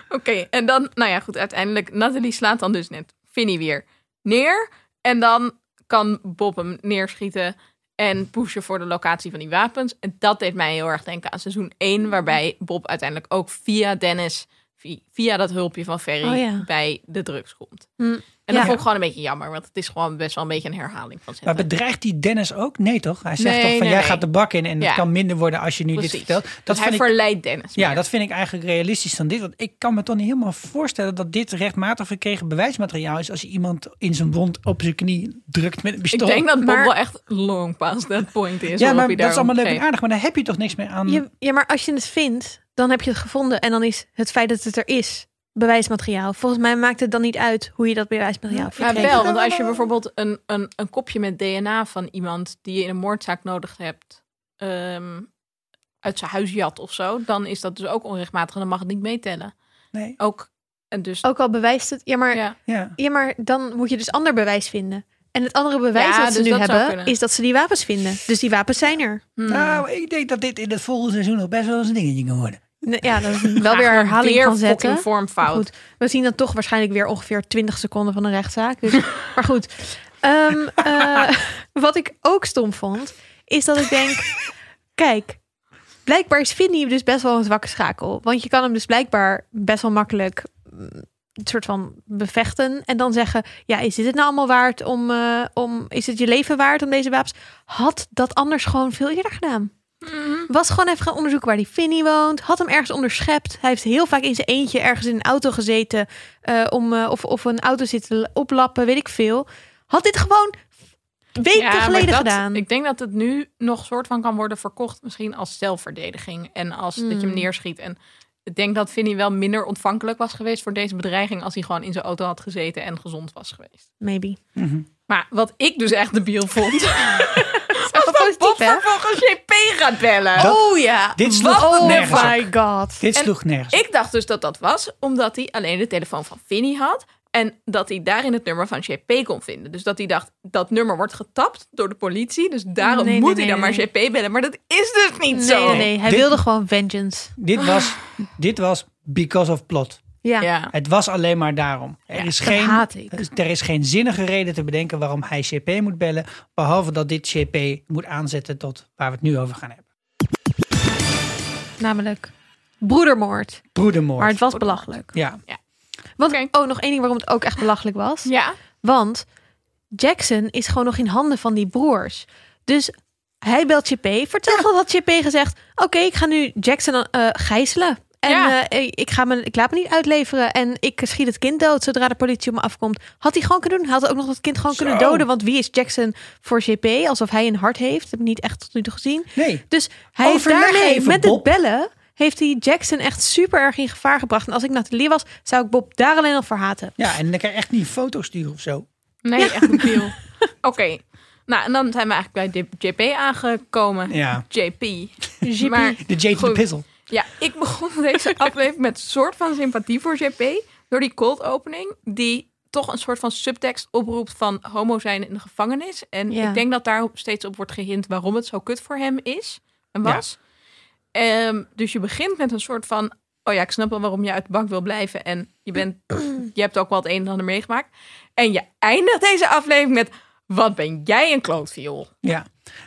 Speaker 1: Oké, en dan, nou ja, goed, uiteindelijk. Nathalie slaat dan dus net Vinnie weer neer. En dan kan Bob hem neerschieten en pushen voor de locatie van die wapens. En dat deed mij heel erg denken aan seizoen 1, waarbij Bob uiteindelijk ook via Dennis, vi- via dat hulpje van Ferry,
Speaker 3: Oh ja.
Speaker 1: bij de drugs komt.
Speaker 3: Hm,
Speaker 1: en dat
Speaker 3: ja.
Speaker 1: vond ik gewoon een beetje jammer, want het is gewoon best wel een beetje een herhaling van
Speaker 2: Maar
Speaker 1: zetten.
Speaker 2: bedreigt die Dennis ook? Nee, toch? Hij zegt
Speaker 1: Nee,
Speaker 2: toch van
Speaker 1: nee,
Speaker 2: jij
Speaker 1: nee.
Speaker 2: gaat de bak in en
Speaker 1: Ja.
Speaker 2: het kan minder worden als je nu dit
Speaker 1: Precies.
Speaker 2: vertelt.
Speaker 1: Dat
Speaker 2: vind
Speaker 1: Dus hij
Speaker 2: ik-
Speaker 1: verleidt Dennis.
Speaker 2: Ja,
Speaker 1: meer.
Speaker 2: dat vind ik eigenlijk realistisch dan dit. Want ik kan me toch niet helemaal voorstellen dat dit rechtmatig verkregen bewijsmateriaal is als je iemand in zijn wond op zijn knie drukt met een
Speaker 1: ik
Speaker 2: pistool.
Speaker 1: denk dat Bob
Speaker 3: Maar-
Speaker 1: wel echt long past that point is.
Speaker 2: ja,
Speaker 1: waarop
Speaker 2: maar
Speaker 1: hij
Speaker 2: dat is
Speaker 1: daarom
Speaker 2: allemaal leuk Ah, en
Speaker 1: geeft.
Speaker 2: aardig, maar daar heb je toch niks meer aan.
Speaker 3: Je- ja, maar als je het vindt, dan heb je het gevonden. En dan is het feit dat het er is bewijsmateriaal. Volgens mij maakt het dan niet uit hoe je dat bewijsmateriaal
Speaker 1: Ja,
Speaker 3: verkreeg.
Speaker 1: wel, want als je bijvoorbeeld een, een, een kopje met DNA van iemand die je in een moordzaak nodig hebt, ehm, uit zijn huis jat of zo, dan is dat dus ook onrechtmatig en dan mag het niet meetellen.
Speaker 2: Nee,
Speaker 1: Ook, en dus,
Speaker 3: Ook al bewijst het. Ja maar, ja.
Speaker 1: ja.
Speaker 2: ja.
Speaker 3: maar dan moet je dus ander bewijs vinden. En het andere bewijs
Speaker 1: Ja,
Speaker 3: dat ze
Speaker 1: dus dat
Speaker 3: nu
Speaker 1: zou
Speaker 3: hebben,
Speaker 1: kunnen.
Speaker 3: is dat ze die wapens vinden. Dus die wapens zijn er.
Speaker 1: Hmm.
Speaker 2: Nou, ik denk dat dit in het volgende seizoen nog best wel eens een dingetje kan worden.
Speaker 3: Nee, Ja, dat is wel weer
Speaker 1: Ja,
Speaker 3: herhaling
Speaker 1: weer
Speaker 3: van zetten.
Speaker 1: fucking vormfout.
Speaker 3: Goed, we zien dan toch waarschijnlijk weer ongeveer 20 seconden van een rechtszaak. Dus, maar goed, Ehm, eh, wat ik ook stom vond, is dat ik denk, kijk, blijkbaar is Vinnie dus best wel een zwakke schakel. Want je kan hem dus blijkbaar best wel makkelijk mm, een soort van bevechten en dan zeggen, ja, is dit het nou allemaal waard om, eh, om, is het je leven waard om deze wapens? Had dat anders gewoon veel eerder gedaan.
Speaker 1: Hmm.
Speaker 3: Was gewoon even gaan onderzoeken waar die Finny woont. Had hem ergens onderschept. Hij heeft heel vaak in zijn eentje ergens in een auto gezeten. eh, om, eh, of, of een auto zitten l- oplappen, weet ik veel. Had dit gewoon weken
Speaker 1: Ja, maar
Speaker 3: geleden
Speaker 1: dat-
Speaker 3: gedaan.
Speaker 1: Ik denk dat het nu nog soort van kan worden verkocht, misschien als zelfverdediging en als dat je
Speaker 3: Hmm.
Speaker 1: hem neerschiet. En ik denk dat Vinnie wel minder ontvankelijk was geweest voor deze bedreiging als hij gewoon in zijn auto had gezeten en gezond was geweest.
Speaker 3: Maybe.
Speaker 1: Maar wat ik dus echt debiel vond,
Speaker 3: Echt
Speaker 1: Bob
Speaker 3: positief, hè?
Speaker 1: vervolgens JP gaat bellen.
Speaker 2: Dat-
Speaker 3: Oh ja.
Speaker 2: Dit sloeg
Speaker 3: oh
Speaker 2: nergens op.
Speaker 3: my god.
Speaker 2: Dit
Speaker 1: En
Speaker 2: sloeg nergens op.
Speaker 1: Ik dacht dus dat dat was omdat hij alleen de telefoon van Vinnie had. En dat hij daarin het nummer van JP kon vinden. Dus dat hij dacht, dat nummer wordt getapt door de politie. Dus daarom
Speaker 3: Nee, nee,
Speaker 1: moet
Speaker 3: nee,
Speaker 1: hij dan
Speaker 3: nee,
Speaker 1: maar JP bellen. Maar dat is dus niet
Speaker 3: Nee,
Speaker 1: zo.
Speaker 3: nee, nee. Hij
Speaker 2: Dit-
Speaker 3: wilde gewoon vengeance.
Speaker 2: Dit was, dit was because of plot.
Speaker 3: Ja.
Speaker 1: Ja.
Speaker 2: Het was alleen maar daarom. Er, is geen,
Speaker 3: haat ik.
Speaker 2: er is geen zinnige reden te bedenken waarom hij CP moet bellen. Behalve dat dit CP moet aanzetten tot waar we het nu over gaan hebben.
Speaker 3: Namelijk broedermoord.
Speaker 2: Broedermoord.
Speaker 3: Maar het was belachelijk.
Speaker 2: Ja,
Speaker 3: Want,
Speaker 1: Oké.
Speaker 3: oh, nog één ding waarom het ook echt belachelijk was.
Speaker 1: Ja,
Speaker 3: Want Jackson is gewoon nog in handen van die broers. Dus hij belt JP. Vertel dat had JP gezegd: Oké, ik ga nu Jackson eh, gijzelen. En
Speaker 1: Ja.
Speaker 3: eh, ik, ga me, ik laat me niet uitleveren. En ik schiet het kind dood zodra de politie op me afkomt. Had hij gewoon kunnen doen. Hij had ook nog dat kind gewoon kunnen
Speaker 2: Zo.
Speaker 3: doden. Want wie is Jackson voor GP? Alsof hij een hart heeft. Dat heb ik niet echt tot nu toe gezien.
Speaker 2: Nee.
Speaker 3: Dus hij heeft
Speaker 2: Overleg
Speaker 3: daarmee,
Speaker 2: even,
Speaker 3: met
Speaker 2: Bob.
Speaker 3: het bellen, heeft hij Jackson echt super erg in gevaar gebracht. En als ik Nathalie was, zou ik Bob daar alleen al voor haten.
Speaker 2: Ja, en dan kan je echt niet een foto sturen of zo.
Speaker 1: Nee, echt een deal. Oké. Nou, en dan zijn we eigenlijk bij de JP aangekomen.
Speaker 2: Ja.
Speaker 1: JP.
Speaker 3: JP.
Speaker 1: Maar
Speaker 2: De JT de
Speaker 1: Goed.
Speaker 2: Pizzle.
Speaker 1: ja, ik begon deze aflevering met een soort van sympathie voor JP. Door die cold opening, die toch een soort van subtekst oproept van homo zijn in de gevangenis. En
Speaker 3: Ja.
Speaker 1: ik denk dat daar steeds op wordt gehint waarom het zo kut voor hem is en
Speaker 2: Ja.
Speaker 1: was. Ehm, dus je begint met een soort van, oh ja, ik snap wel waarom je uit de bank wil blijven. En je, bent, je hebt ook wel het een en ander meegemaakt. En je eindigt deze aflevering met, wat ben jij een klootviool.
Speaker 2: Ja.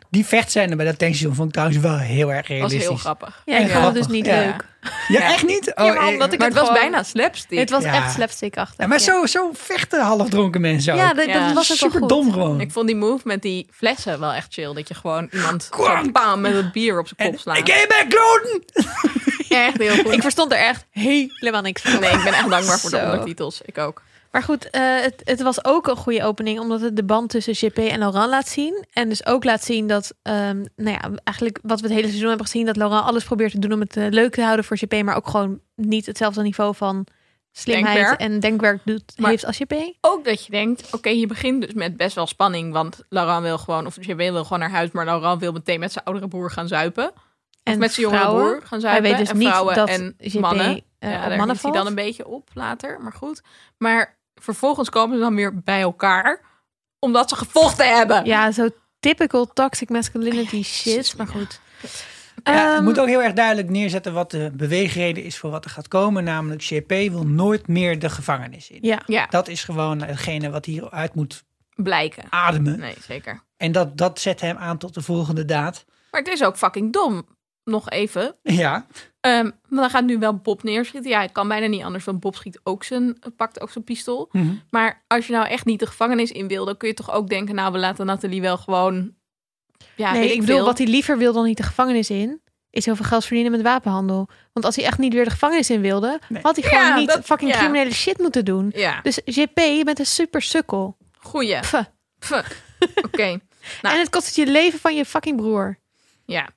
Speaker 2: Die vechtscène bij dat tankstation vond ik trouwens wel heel erg
Speaker 1: Dat was
Speaker 2: realistisch.
Speaker 1: heel grappig.
Speaker 3: Ja, ik
Speaker 2: Ja.
Speaker 3: vond het dus niet
Speaker 2: Ja.
Speaker 3: leuk.
Speaker 2: Ja,
Speaker 1: Ja.
Speaker 2: echt niet? Oh,
Speaker 3: Ja, maar omdat ik
Speaker 1: Maar
Speaker 3: het
Speaker 1: het was
Speaker 3: gewoon-
Speaker 1: bijna slapstick.
Speaker 3: Het was
Speaker 2: Ja.
Speaker 3: echt slapstick-achtig.
Speaker 2: Ja, maar
Speaker 3: ja.
Speaker 2: zo, zo vechten halfdronken mensen ook.
Speaker 3: Ja, dat,
Speaker 1: Ja.
Speaker 3: dat was ook wel
Speaker 2: Super
Speaker 3: goed.
Speaker 2: dom gewoon.
Speaker 1: Ik vond die move met die flessen wel echt chill. Dat je gewoon iemand zo
Speaker 2: Kwank!
Speaker 1: bam, met het bier op zijn
Speaker 2: En,
Speaker 1: kop slaat.
Speaker 2: ik heb back, Gordon!
Speaker 1: echt heel goed.
Speaker 3: Ik verstond er echt helemaal niks van.
Speaker 1: nee, ik ben echt dankbaar voor de
Speaker 3: Zo.
Speaker 1: ondertitels. Ik ook.
Speaker 3: Maar goed, eh, het, het was ook een goede opening, omdat het de band tussen JP en Laurent laat zien. En dus ook laat zien dat, ehm, nou ja, eigenlijk wat we het hele seizoen hebben gezien, dat Laurent alles probeert te doen om het eh, leuk te houden voor JP, maar ook gewoon niet hetzelfde niveau van slimheid
Speaker 1: Denkwerk.
Speaker 3: en denkwerk doet,
Speaker 1: Maar-
Speaker 3: heeft als JP.
Speaker 1: Ook dat je denkt, oké, je begint dus met best wel spanning. Want Laurent wil gewoon, of JB wil gewoon naar huis. Maar Laurent wil meteen met zijn oudere broer gaan zuipen.
Speaker 3: En
Speaker 1: of met zijn jongere
Speaker 3: vrouwen.
Speaker 1: broer gaan
Speaker 3: Hij
Speaker 1: zuipen.
Speaker 3: weet dus
Speaker 1: en
Speaker 3: niet
Speaker 1: vrouwen
Speaker 3: dat
Speaker 1: en
Speaker 3: JP
Speaker 1: mannen.
Speaker 3: mannen,
Speaker 1: ja,
Speaker 3: op
Speaker 1: daar
Speaker 3: mannen
Speaker 1: hield hij
Speaker 3: valt.
Speaker 1: dan een beetje op later, maar goed. Maar vervolgens komen ze dan weer bij elkaar. Omdat ze gevochten hebben.
Speaker 3: Ja, zo typical toxic masculinity shit, maar goed.
Speaker 2: Ja, het
Speaker 3: Ehm,
Speaker 2: moet ook heel erg duidelijk neerzetten wat de beweegreden is voor wat er gaat komen. Namelijk, JP wil nooit meer de gevangenis in.
Speaker 3: ja.
Speaker 1: Ja,
Speaker 2: Dat is gewoon hetgene wat hieruit moet
Speaker 1: blijken.
Speaker 2: ademen.
Speaker 1: Nee, zeker.
Speaker 2: En dat, dat zet hem aan tot de volgende daad.
Speaker 1: Maar het is ook fucking dom. Nog even.
Speaker 2: Ja,
Speaker 1: Ehm, maar dan gaat nu wel Bob neerschieten. Ja, ik kan bijna niet anders, want Bob schiet ook zijn, pakt ook zijn pistool.
Speaker 2: Mhm.
Speaker 1: Maar als je nou echt niet de gevangenis in wil, dan kun je toch ook denken... nou, we laten Nathalie wel gewoon... Ja,
Speaker 3: nee,
Speaker 1: weet
Speaker 3: ik bedoel,
Speaker 1: veel.
Speaker 3: wat hij liever wil dan niet de gevangenis in, is heel veel geld verdienen met wapenhandel. Want als hij echt niet weer de gevangenis in wilde,
Speaker 2: Nee.
Speaker 3: had hij gewoon
Speaker 1: Ja,
Speaker 3: niet
Speaker 1: dat-
Speaker 3: fucking
Speaker 1: ja.
Speaker 3: criminele shit moeten doen.
Speaker 1: Ja,
Speaker 3: Dus JP, je bent een super sukkel.
Speaker 1: goeie.
Speaker 3: Pff.
Speaker 1: Pff. Oké, Nou.
Speaker 3: En het kost het je leven van je fucking broer.
Speaker 1: ja.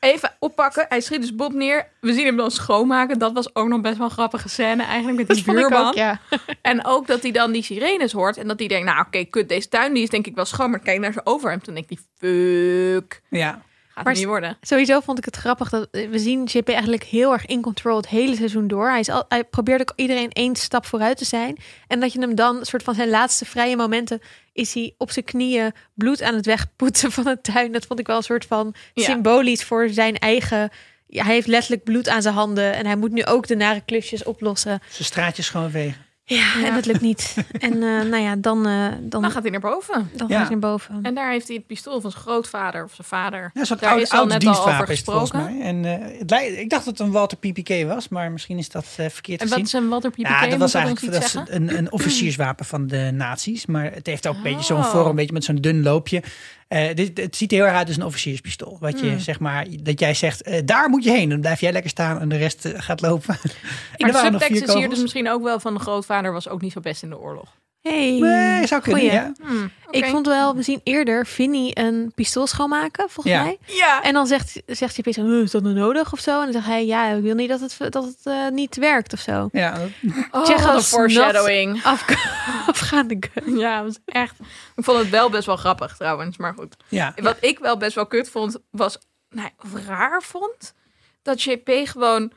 Speaker 1: Even oppakken. Hij schiet dus Bob neer. We zien hem dan schoonmaken. Dat was ook nog best wel een grappige scène eigenlijk met
Speaker 3: Dat
Speaker 1: die
Speaker 3: vond ik
Speaker 1: buurman.
Speaker 3: ook, ja.
Speaker 1: En ook dat hij dan die sirenes hoort. En dat hij denkt, nou oké, kut, deze tuin die is denk ik wel schoon. Maar kijk naar zijn overhemd. Toen denk ik, fuck.
Speaker 2: ja.
Speaker 1: Gaat
Speaker 3: Maar
Speaker 1: het niet worden.
Speaker 3: Sowieso vond ik het grappig dat eh, we zien JP eigenlijk heel erg in control het hele seizoen door. Hij, is al, hij probeert ook iedereen één stap vooruit te zijn. En dat je hem dan, soort van zijn laatste vrije momenten, is hij op zijn knieën bloed aan het wegpoetsen van een tuin. Dat vond ik wel een soort van
Speaker 1: Ja.
Speaker 3: symbolisch voor zijn eigen. Ja, hij heeft letterlijk bloed aan zijn handen en hij moet nu ook de nare klusjes oplossen.
Speaker 2: Zijn straatjes schoonvegen.
Speaker 3: Ja, en dat lukt niet. En eh, nou ja, dan, eh, dan,
Speaker 1: Dan gaat hij naar boven.
Speaker 3: dan
Speaker 2: Ja.
Speaker 3: gaan ze naar boven.
Speaker 1: En daar heeft hij het pistool van zijn grootvader of zijn vader.
Speaker 2: Ja, een soort
Speaker 1: daar
Speaker 2: oude,
Speaker 1: is al
Speaker 2: oude
Speaker 1: net al over
Speaker 2: dienstwapen is het volgens
Speaker 1: gesproken.
Speaker 2: mij. En, eh, het lijkt, ik dacht dat het een Walter PPK was, maar misschien is dat eh, verkeerd
Speaker 1: En wat
Speaker 2: gezien.
Speaker 1: is een Walter PPK?
Speaker 2: Ja, dat was
Speaker 1: iets
Speaker 2: eigenlijk dat is
Speaker 1: zeggen?
Speaker 2: een, een officierswapen van de nazi's. Maar het heeft ook een beetje zo'n
Speaker 1: Oh.
Speaker 2: vorm, een beetje met zo'n dun loopje. Eh, dit, het ziet er heel erg uit als een officierspistool. Wat
Speaker 1: Hmm.
Speaker 2: je, zeg maar, dat jij zegt, eh, daar moet je heen. Dan blijf jij lekker staan en de rest eh, gaat lopen. En er
Speaker 1: Maar de
Speaker 2: waren nog
Speaker 1: subtext is
Speaker 2: vier
Speaker 1: hier dus
Speaker 2: kogels.
Speaker 1: misschien ook wel van de grootvader was ook niet zo best in de oorlog.
Speaker 3: Hey.
Speaker 2: Nee, zou kunnen,
Speaker 3: Goeie.
Speaker 2: ja.
Speaker 1: Hmm, Oké.
Speaker 3: Ik vond wel, we zien eerder Vinnie een pistool schoonmaken, volgens
Speaker 2: Ja.
Speaker 3: mij.
Speaker 1: Ja,
Speaker 3: En dan zegt, zegt hij opeens, "Huh, is dat nou nodig of zo? En dan zegt hij, ja, ik wil niet dat het, dat het eh, niet werkt of zo.
Speaker 2: Ja, dat-
Speaker 1: oh,
Speaker 3: Tsjecho's
Speaker 1: wat een
Speaker 3: nat-
Speaker 1: foreshadowing.
Speaker 3: Af, afgaande gun.
Speaker 1: Ja, dat was echt... Ik vond het wel best wel grappig trouwens, maar goed.
Speaker 2: ja.
Speaker 1: Wat ik wel best wel kut vond, was, nou, of raar vond, dat JP gewoon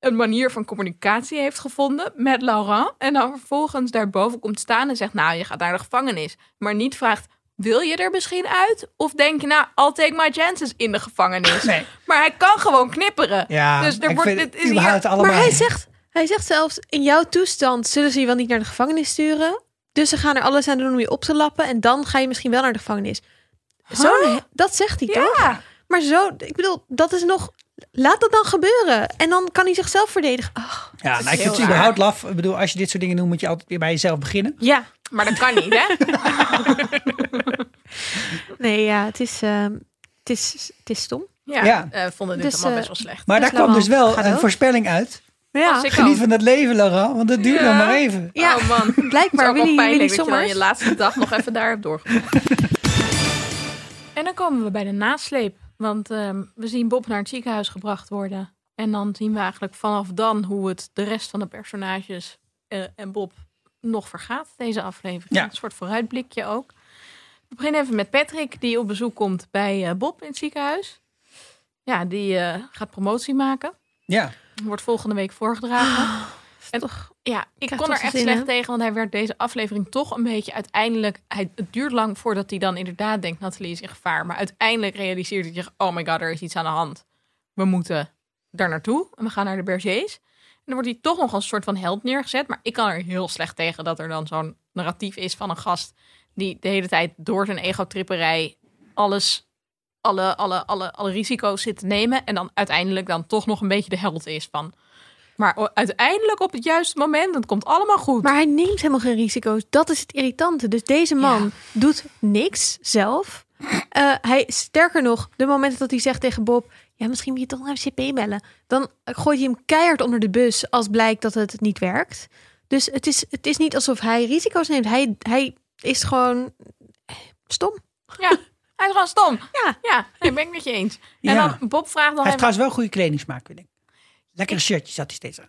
Speaker 1: een manier van communicatie heeft gevonden met Laurent. En dan vervolgens daarboven komt staan en zegt, nou, je gaat naar de gevangenis. Maar niet vraagt, wil je er misschien uit? Of denk je, nou, I'll take my chances in de gevangenis.
Speaker 2: Nee.
Speaker 1: Maar hij kan gewoon knipperen.
Speaker 2: Ja,
Speaker 1: dus er
Speaker 2: ik
Speaker 1: wordt,
Speaker 2: vind
Speaker 1: dit is
Speaker 2: überhaupt
Speaker 1: hier-
Speaker 2: allemaal...
Speaker 3: Maar hij zegt, hij zegt zelfs, in jouw toestand zullen ze je wel niet naar de gevangenis sturen. Dus ze gaan er alles aan doen om je op te lappen. En dan ga je misschien wel naar de gevangenis. Zo'n he- dat zegt hij toch?
Speaker 1: Ja,
Speaker 3: Maar zo, ik bedoel, dat is nog... Laat dat dan gebeuren. En dan kan hij zichzelf verdedigen. Ach,
Speaker 2: ja, nou, ik
Speaker 1: heel
Speaker 2: vind het
Speaker 1: raar.
Speaker 2: überhaupt laf. Ik bedoel, als je dit soort dingen doet, moet je altijd weer bij jezelf beginnen.
Speaker 3: ja.
Speaker 1: maar dat kan niet, hè?
Speaker 3: Nee, ja, het is, ehm, het is, het is stom.
Speaker 1: Ja,
Speaker 2: Ja.
Speaker 1: eh, vonden dit
Speaker 3: Dus,
Speaker 1: allemaal
Speaker 3: eh,
Speaker 1: best wel slecht.
Speaker 2: Maar
Speaker 3: Dus
Speaker 2: daar kwam dus
Speaker 3: Laurent,
Speaker 2: wel
Speaker 3: ga
Speaker 2: een
Speaker 3: door.
Speaker 2: voorspelling uit.
Speaker 3: Ja,
Speaker 1: Als ik
Speaker 2: Geniet
Speaker 1: al-
Speaker 2: van dat leven, Laurent, want het duurt
Speaker 1: Oh. Ja.
Speaker 2: nog maar even.
Speaker 3: ja.
Speaker 1: Oh man,
Speaker 3: blijkbaar
Speaker 1: het is ook
Speaker 3: willen
Speaker 1: wel
Speaker 3: jullie
Speaker 1: pijnlijk dat je dan
Speaker 3: sommers.
Speaker 1: je laatste dag nog even daar hebt doorgebracht. En dan komen we bij de nasleep. Want ehm, we zien Bob naar het ziekenhuis gebracht worden. En dan zien we eigenlijk vanaf dan hoe het de rest van de personages eh, en Bob nog vergaat. Deze aflevering.
Speaker 2: Ja.
Speaker 1: Een soort vooruitblikje ook. We beginnen even met Patrick, die op bezoek komt bij eh, Bob in het ziekenhuis. Ja, die eh, gaat promotie maken.
Speaker 2: Ja.
Speaker 1: Wordt volgende week voorgedragen. En toch, ja, ik
Speaker 3: krijg
Speaker 1: kon er
Speaker 3: toch
Speaker 1: echt
Speaker 3: zin in,
Speaker 1: slecht
Speaker 3: hè?
Speaker 1: tegen, want hij werd deze aflevering toch een beetje uiteindelijk. Hij, het duurt lang voordat hij dan inderdaad denkt: Nathalie is in gevaar. Maar uiteindelijk realiseert hij zich: oh my god, er is iets aan de hand. We moeten daar naartoe en we gaan naar de Bergers. En dan wordt hij toch nog als een soort van held neergezet. Maar ik kan er heel slecht tegen dat er dan zo'n narratief is van een gast die de hele tijd door zijn egotripperij alles, alle, alle, alle, alle risico's zit te nemen. En dan uiteindelijk dan toch nog een beetje de held is van. Maar o- uiteindelijk op het juiste moment, het komt allemaal goed.
Speaker 3: Maar hij neemt helemaal geen risico's. Dat is het irritante. Dus deze man doet niks zelf. Eh, hij, sterker nog, de momenten dat hij zegt tegen Bob... ja, misschien moet je toch naar CP bellen. Dan gooit hij hem keihard onder de bus als blijkt dat het niet werkt. Dus het is, het is niet alsof hij risico's neemt. Hij, hij is gewoon stom.
Speaker 1: Ja, hij is gewoon stom.
Speaker 3: Ja.
Speaker 1: Ja, nee, ben ik met je eens. En
Speaker 2: Ja.
Speaker 1: dan Bob vraagt dan
Speaker 2: Hij heeft
Speaker 1: even,
Speaker 2: trouwens wel goede kledingsmaak, vind ik. Lekkere shirtjes had hij steeds aan.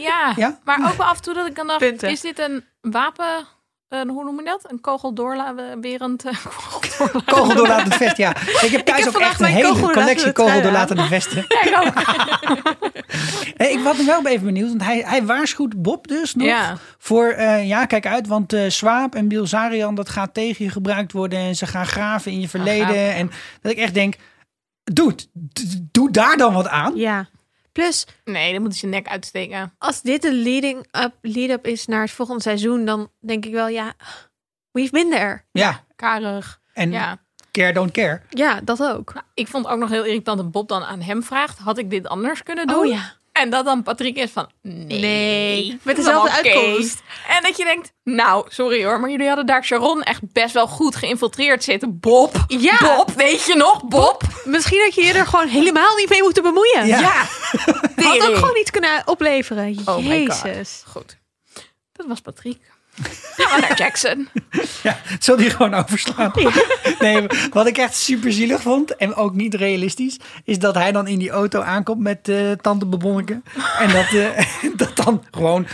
Speaker 1: ja,
Speaker 2: Ja?
Speaker 1: maar ook wel af en toe dat ik dan dacht,
Speaker 3: Punten.
Speaker 1: is dit een wapen, een, hoe noem je dat? Een kogeldoorlawerend eh, kogeldoorla-
Speaker 2: Kogeldoorlatend vest, ja. Ik heb thuis
Speaker 3: heb
Speaker 2: ook
Speaker 3: vandaag
Speaker 2: echt een
Speaker 3: mijn
Speaker 2: hele collectie
Speaker 3: kogeldoorlatende trui aan.
Speaker 2: kogeldoorlatende vesten.
Speaker 1: Ja, ik ook.
Speaker 2: Hey, ik was wel even benieuwd, want hij, hij waarschuwt Bob dus nog
Speaker 1: Ja.
Speaker 2: voor... eh, ja, kijk uit, want eh Swaap en Bilzarian, dat gaat tegen je gebruikt worden. En ze gaan graven in je verleden.
Speaker 1: graven,
Speaker 2: en dat ik echt denk, doe, doe daar dan wat aan.
Speaker 3: Ja. Plus,
Speaker 1: Nee, dan moet hij zijn nek uitsteken.
Speaker 3: als dit de leading up, lead up is naar het volgende seizoen... dan denk ik wel, ja, we've been there.
Speaker 2: Ja,
Speaker 1: Karig.
Speaker 2: en
Speaker 1: Ja.
Speaker 2: care don't care.
Speaker 3: Ja, dat ook.
Speaker 1: Nou, ik vond ook nog heel irritant dat Bob dan aan hem vraagt: had ik dit anders kunnen doen?
Speaker 3: Oh ja.
Speaker 1: En dat dan Patrick is van: nee.
Speaker 3: Nee. Met
Speaker 1: dat is
Speaker 3: dezelfde
Speaker 1: allemaal
Speaker 3: uitkomst.
Speaker 1: case. En dat je denkt: nou, sorry hoor, maar jullie hadden daar Sharon echt best wel goed geïnfiltreerd zitten. Bob.
Speaker 3: Ja.
Speaker 1: Bob, weet je nog? Bob.
Speaker 3: Misschien had je je er gewoon helemaal niet mee moeten bemoeien.
Speaker 2: Ja.
Speaker 1: Tering.
Speaker 3: Had ook gewoon niet kunnen opleveren.
Speaker 1: Oh my god.
Speaker 3: Jezus.
Speaker 1: Goed. Dat was Patrick. Ja, naar Jackson.
Speaker 2: Ja, het zal die gewoon overslaan. Nee, wat ik echt super zielig vond en ook niet realistisch, is dat hij dan in die auto aankomt met eh, tante Bebonneke. En dat, eh, dat dan gewoon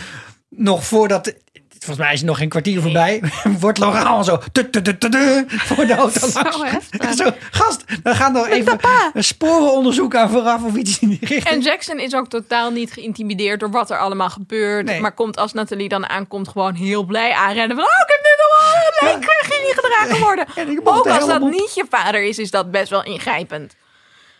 Speaker 2: nog voordat. Volgens mij is er nog geen kwartier voorbij. Wordt Laurent al zo. tu, tu, tu, tu, tu, voor de auto langs.
Speaker 3: heftig.
Speaker 2: Zo, gast, we gaan nog even een sporenonderzoek aan vooraf of iets in die richting.
Speaker 1: En Jackson is ook totaal niet geïntimideerd door wat er allemaal gebeurt.
Speaker 2: Nee.
Speaker 1: Maar komt als Nathalie dan aankomt gewoon heel blij aanrennen. Van, oh, ik heb dit allemaal gedaan. Ik ging niet gedragen worden.
Speaker 2: En ik mocht
Speaker 1: Ook
Speaker 2: er
Speaker 1: als dat
Speaker 2: helemaal op.
Speaker 1: niet je vader is, is dat best wel ingrijpend.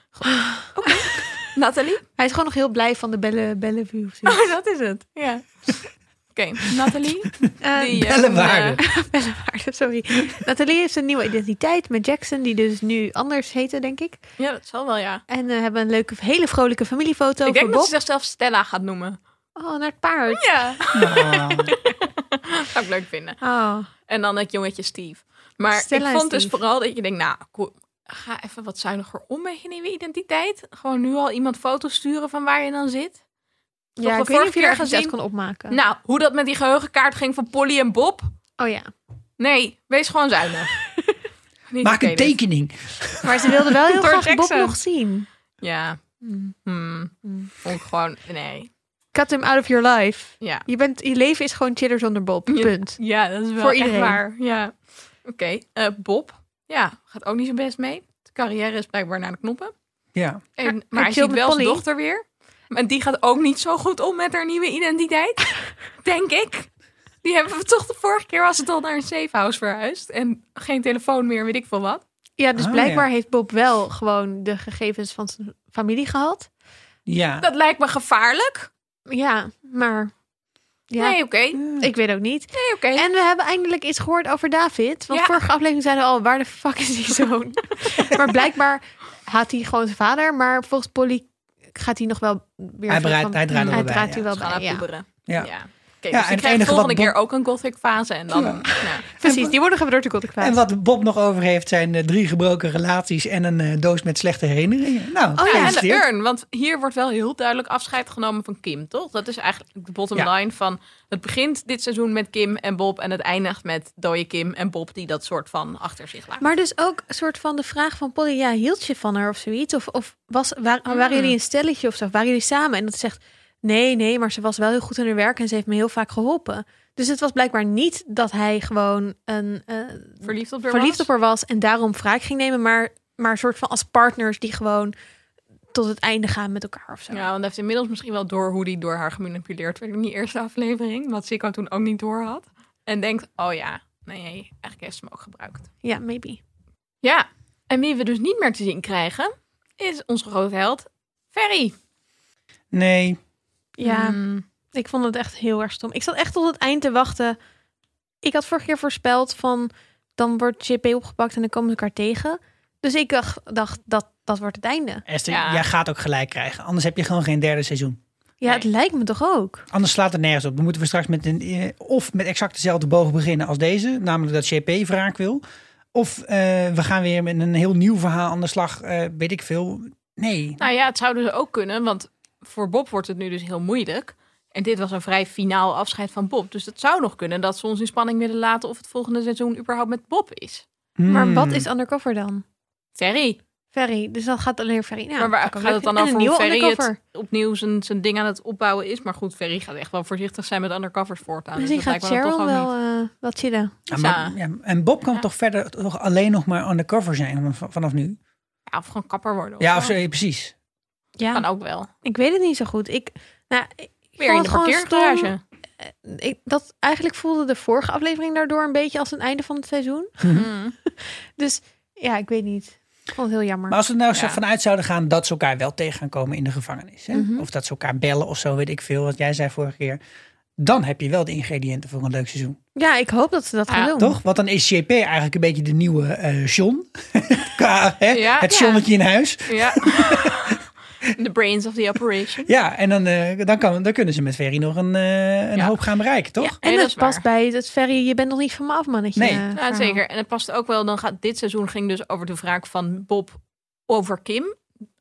Speaker 1: Goed. Oké. Nathalie?
Speaker 3: Hij is gewoon nog heel blij van de Belle, Eh, Bellevue. of zoiets.
Speaker 1: Oh, dat is het. Ja. Oké, Nathalie.
Speaker 3: Eh,
Speaker 1: die, eh,
Speaker 2: Bellewaarde.
Speaker 1: eh,
Speaker 3: Bellewaarde, sorry. Nathalie heeft een nieuwe identiteit met Jackson, die dus nu anders heette, denk ik.
Speaker 1: ja, dat zal wel, ja.
Speaker 3: En eh, hebben een leuke, hele vrolijke familiefoto
Speaker 1: Ik denk
Speaker 3: van
Speaker 1: dat
Speaker 3: Bob.
Speaker 1: ze zichzelf Stella gaat noemen.
Speaker 3: Oh, naar het paard.
Speaker 1: Ja. eh.
Speaker 2: Ah,
Speaker 1: Dat zou ik leuk vinden.
Speaker 3: Oh.
Speaker 1: En dan het jongetje Steve. Maar
Speaker 3: Stella
Speaker 1: ik
Speaker 3: en
Speaker 1: vond dus
Speaker 3: Steve.
Speaker 1: vooral dat je denkt, nou, ko- ga even wat zuiniger om met je nieuwe identiteit. Gewoon nu al iemand foto's sturen van waar je dan zit.
Speaker 3: Ja,
Speaker 1: we
Speaker 3: ik weet niet of
Speaker 1: vorige
Speaker 3: je er
Speaker 1: keer
Speaker 3: ergens echt
Speaker 1: gezien?
Speaker 3: kon opmaken.
Speaker 1: Nou, hoe dat met die geheugenkaart ging van Polly en Bob.
Speaker 3: Oh ja.
Speaker 1: Nee, wees gewoon zuinig. Niet
Speaker 2: maak
Speaker 1: oké
Speaker 2: een
Speaker 1: dit.
Speaker 2: tekening.
Speaker 3: Maar ze wilde wel heel
Speaker 1: Door
Speaker 3: graag
Speaker 1: Jackson.
Speaker 3: Bob nog zien.
Speaker 1: Ja.
Speaker 3: Hmm.
Speaker 1: Hmm. Vond ik gewoon, nee.
Speaker 3: Cut him out of your life.
Speaker 1: Ja.
Speaker 3: Je, bent, je leven is gewoon chiller zonder Bob.
Speaker 1: Ja.
Speaker 3: Punt.
Speaker 1: Ja, dat is wel
Speaker 3: Voor
Speaker 1: echt
Speaker 3: iedereen.
Speaker 1: waar. Ja. Oké, eh, Bob. Ja, gaat ook niet zo best mee. De carrière is blijkbaar naar de knoppen.
Speaker 2: Ja.
Speaker 1: En, maar,
Speaker 3: hij
Speaker 1: hij
Speaker 3: chillt
Speaker 1: ziet
Speaker 3: met
Speaker 1: wel zijn
Speaker 3: Polly.
Speaker 1: dochter weer. En die gaat ook niet zo goed om met haar nieuwe identiteit. denk ik. Die hebben we toch de vorige keer was het al naar een safe house verhuisd. En geen telefoon meer, weet ik veel wat.
Speaker 3: Ja, dus
Speaker 2: Oh,
Speaker 3: blijkbaar
Speaker 2: ja.
Speaker 3: heeft Bob wel gewoon de gegevens van zijn familie gehad.
Speaker 2: Ja.
Speaker 1: Dat lijkt me gevaarlijk.
Speaker 3: Ja, maar ja,
Speaker 1: Nee, oké. Nee,
Speaker 3: ik weet ook niet.
Speaker 1: oké.
Speaker 3: En we hebben eindelijk iets gehoord over David. Want
Speaker 1: Ja.
Speaker 3: vorige aflevering zeiden we al, waar de fuck is die zoon? maar blijkbaar haat hij gewoon zijn vader. Maar volgens Polly gaat hij nog wel
Speaker 2: Hij
Speaker 3: weer... soort
Speaker 2: draait-
Speaker 3: van-
Speaker 2: hij draait er wel bij,
Speaker 3: draait
Speaker 2: ja.
Speaker 3: hij wel
Speaker 1: Gaan
Speaker 3: bij,
Speaker 1: haar
Speaker 3: ja.
Speaker 1: poeberen.
Speaker 2: Ja.
Speaker 1: ja, dus
Speaker 2: en
Speaker 1: je
Speaker 2: het
Speaker 1: krijgt de
Speaker 2: enige
Speaker 1: volgende
Speaker 2: wat
Speaker 1: keer ook een gothic fase. En dan, nou,
Speaker 3: Precies, die worden gebeurd door de Gothic
Speaker 2: En
Speaker 3: Files.
Speaker 2: wat Bob nog over heeft zijn eh, drie gebroken relaties en een eh, doos met slechte herinneringen. Nou,
Speaker 3: Oh
Speaker 1: ja, en de
Speaker 2: gefeliciteerd.
Speaker 1: urn. Want hier wordt wel heel duidelijk afscheid genomen van Kim, toch? Dat is eigenlijk de bottom
Speaker 2: Ja.
Speaker 1: line van... Het begint dit seizoen met Kim en Bob... en het eindigt met dode Kim en Bob... die dat soort van achter zich laten.
Speaker 3: Maar dus ook een soort van de vraag van Polly, ja, hield je van haar of zoiets? Of, of was, waar,
Speaker 1: Ah.
Speaker 3: waren jullie een stelletje of zo? Waren jullie samen? En dat ze zegt, nee, nee, maar ze was wel heel goed in haar werk en ze heeft me heel vaak geholpen. Dus het was blijkbaar niet dat hij gewoon een, eh,
Speaker 1: Verliefd op haar
Speaker 3: verliefd
Speaker 1: was?
Speaker 3: op haar was en daarom wraak ging nemen, maar, maar een soort van als partners die gewoon tot het einde gaan met elkaar of zo.
Speaker 1: Ja, want hij heeft inmiddels misschien wel door hoe die door haar gemanipuleerd werd in die eerste aflevering. Wat Sikko toen ook niet door had. En denkt, oh ja, nee, eigenlijk heeft ze hem ook gebruikt.
Speaker 3: Ja, maybe.
Speaker 1: Ja, en wie we dus niet meer te zien krijgen, is onze grote held Ferry.
Speaker 2: Nee,
Speaker 3: Ja.
Speaker 1: Mm.
Speaker 3: Ik vond het echt heel erg stom. Ik zat echt tot het eind te wachten. Ik had vorige keer voorspeld van dan wordt JP opgepakt en dan komen ze elkaar tegen. Dus ik dacht, dacht dat dat wordt het einde.
Speaker 2: Esther,
Speaker 1: Ja.
Speaker 2: jij gaat ook gelijk krijgen. Anders heb je gewoon geen derde seizoen.
Speaker 3: Ja,
Speaker 1: Nee.
Speaker 3: het lijkt me toch ook.
Speaker 2: Anders slaat het nergens op. Dan moeten we straks met een, eh, of met exact dezelfde boog beginnen als deze. Namelijk dat JP wraak wil. Of eh, we gaan weer met een heel nieuw verhaal aan de slag. eh, weet ik veel. Nee.
Speaker 1: Nou ja, het zou dus ook kunnen, want voor Bob wordt het nu dus heel moeilijk. En dit was een vrij finaal afscheid van Bob. Dus het zou nog kunnen dat ze ons in spanning willen laten of het volgende seizoen überhaupt met Bob is.
Speaker 3: Maar
Speaker 2: Hmm.
Speaker 3: wat is undercover dan?
Speaker 1: Ferry.
Speaker 3: Ferry. Dus dan gaat alleen Ferry. Nou,
Speaker 1: maar waar gaat
Speaker 3: dan heb
Speaker 1: het
Speaker 3: je-
Speaker 1: dan
Speaker 3: en
Speaker 1: over
Speaker 3: een
Speaker 1: hoe
Speaker 3: nieuwe
Speaker 1: Ferry
Speaker 3: undercover.
Speaker 1: het opnieuw zijn, zijn ding aan het opbouwen is? Maar goed, Ferry gaat echt wel voorzichtig zijn met undercovers voortaan. Dus
Speaker 3: Misschien
Speaker 1: dat
Speaker 3: gaat
Speaker 1: lijkt me dan
Speaker 3: Cheryl
Speaker 1: toch wel
Speaker 3: wel eh, wat chillen.
Speaker 2: Ja,
Speaker 1: Ja.
Speaker 2: maar- ja, en Bob kan
Speaker 1: Ja.
Speaker 2: toch verder toch alleen nog maar undercover zijn v- vanaf nu?
Speaker 3: eh,
Speaker 1: Ja, of gewoon kapper worden.
Speaker 2: Ja, of
Speaker 1: zo.
Speaker 2: zo, ja, precies.
Speaker 3: Ja,
Speaker 1: Kan ook wel.
Speaker 3: ik weet het niet zo goed. Ik, nou, ik
Speaker 1: Weer in
Speaker 3: vond
Speaker 1: de
Speaker 3: het gewoon stom.
Speaker 1: parkeergarage.
Speaker 3: Ik, dat, eigenlijk voelde de vorige aflevering daardoor een beetje als een einde van het seizoen.
Speaker 1: Mm.
Speaker 3: Dus ja, ik weet niet. Ik vond het heel jammer.
Speaker 2: Maar als we er nou zo
Speaker 1: Ja.
Speaker 2: vanuit zouden gaan dat ze elkaar wel tegen gaan komen in de gevangenis. Hè?
Speaker 3: Mhm.
Speaker 2: Of dat ze elkaar bellen of zo, weet ik veel, wat jij zei vorige keer. Dan heb je wel de ingrediënten voor een leuk seizoen.
Speaker 3: Ja, ik hoop dat ze dat
Speaker 1: Ja,
Speaker 3: gaan doen.
Speaker 2: Toch? Want dan is JP eigenlijk een beetje de nieuwe eh, John. Qua, hè?
Speaker 1: Ja.
Speaker 2: het
Speaker 1: Ja.
Speaker 2: Johnnetje in huis.
Speaker 1: Ja. The brains of the operation.
Speaker 2: Ja, en dan, eh, dan, kan, dan kunnen ze met Ferry nog een, eh, een
Speaker 1: Ja.
Speaker 2: hoop gaan bereiken, toch?
Speaker 3: En
Speaker 1: Nee, dat
Speaker 3: het
Speaker 1: is
Speaker 3: past
Speaker 1: waar.
Speaker 3: bij het Ferry, je bent nog niet van me af, mannetje.
Speaker 2: Nee.
Speaker 3: eh,
Speaker 2: Ja,
Speaker 1: Ja,
Speaker 3: verhaal.
Speaker 1: zeker. En het past ook wel. Dan gaat dit seizoen ging dus over de wraak van Bob over Kim.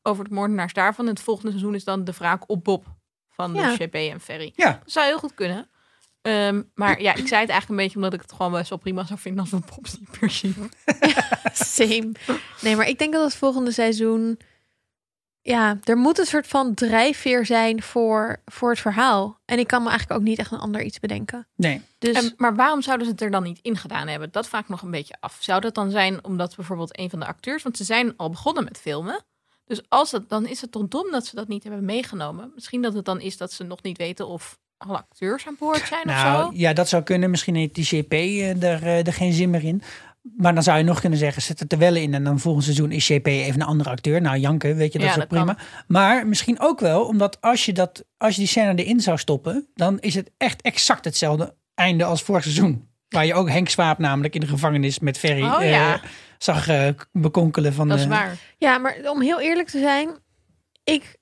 Speaker 1: Over de moordenaars daarvan. En het volgende seizoen is dan de wraak op Bob. Van
Speaker 3: Ja.
Speaker 1: de JP en Ferry.
Speaker 2: Ja.
Speaker 1: Dat zou heel goed kunnen. Ehm, maar ja, ik zei het eigenlijk een beetje omdat ik het gewoon best wel prima zou vinden als we Bob niet meer zien.
Speaker 3: Same. Nee, maar ik denk dat het volgende seizoen... Ja, er moet een soort van drijfveer zijn voor, voor het verhaal. En ik kan me eigenlijk ook niet echt een ander iets bedenken.
Speaker 2: Nee.
Speaker 3: Dus
Speaker 1: En, maar waarom zouden ze het er dan niet in gedaan hebben? Dat vraag ik nog een beetje af. Zou dat dan zijn omdat bijvoorbeeld een van de acteurs... want ze zijn al begonnen met filmen. Dus als dat, dan is het toch dom dat ze dat niet hebben meegenomen. Misschien dat het dan is dat ze nog niet weten of alle acteurs aan boord zijn of
Speaker 2: Nou,
Speaker 1: zo.
Speaker 2: ja, dat zou kunnen. Misschien heeft die JP eh, daar, eh, daar geen zin meer in. Maar dan zou je nog kunnen zeggen, zet het er wel in. En dan volgend seizoen is JP even een andere acteur. Nou, Janke, weet je, dat
Speaker 1: Ja,
Speaker 2: is ook
Speaker 1: dat kan.
Speaker 2: prima. Maar misschien ook wel, omdat als je, dat, als je die scène erin zou stoppen... dan is het echt exact hetzelfde einde als vorig seizoen. Waar je ook Henk Swaap namelijk in de gevangenis met Ferry
Speaker 1: Oh,
Speaker 2: eh,
Speaker 1: ja.
Speaker 2: zag eh, bekonkelen. Van
Speaker 1: Dat is
Speaker 2: de-
Speaker 1: waar.
Speaker 3: Ja, maar om heel eerlijk te zijn, ik,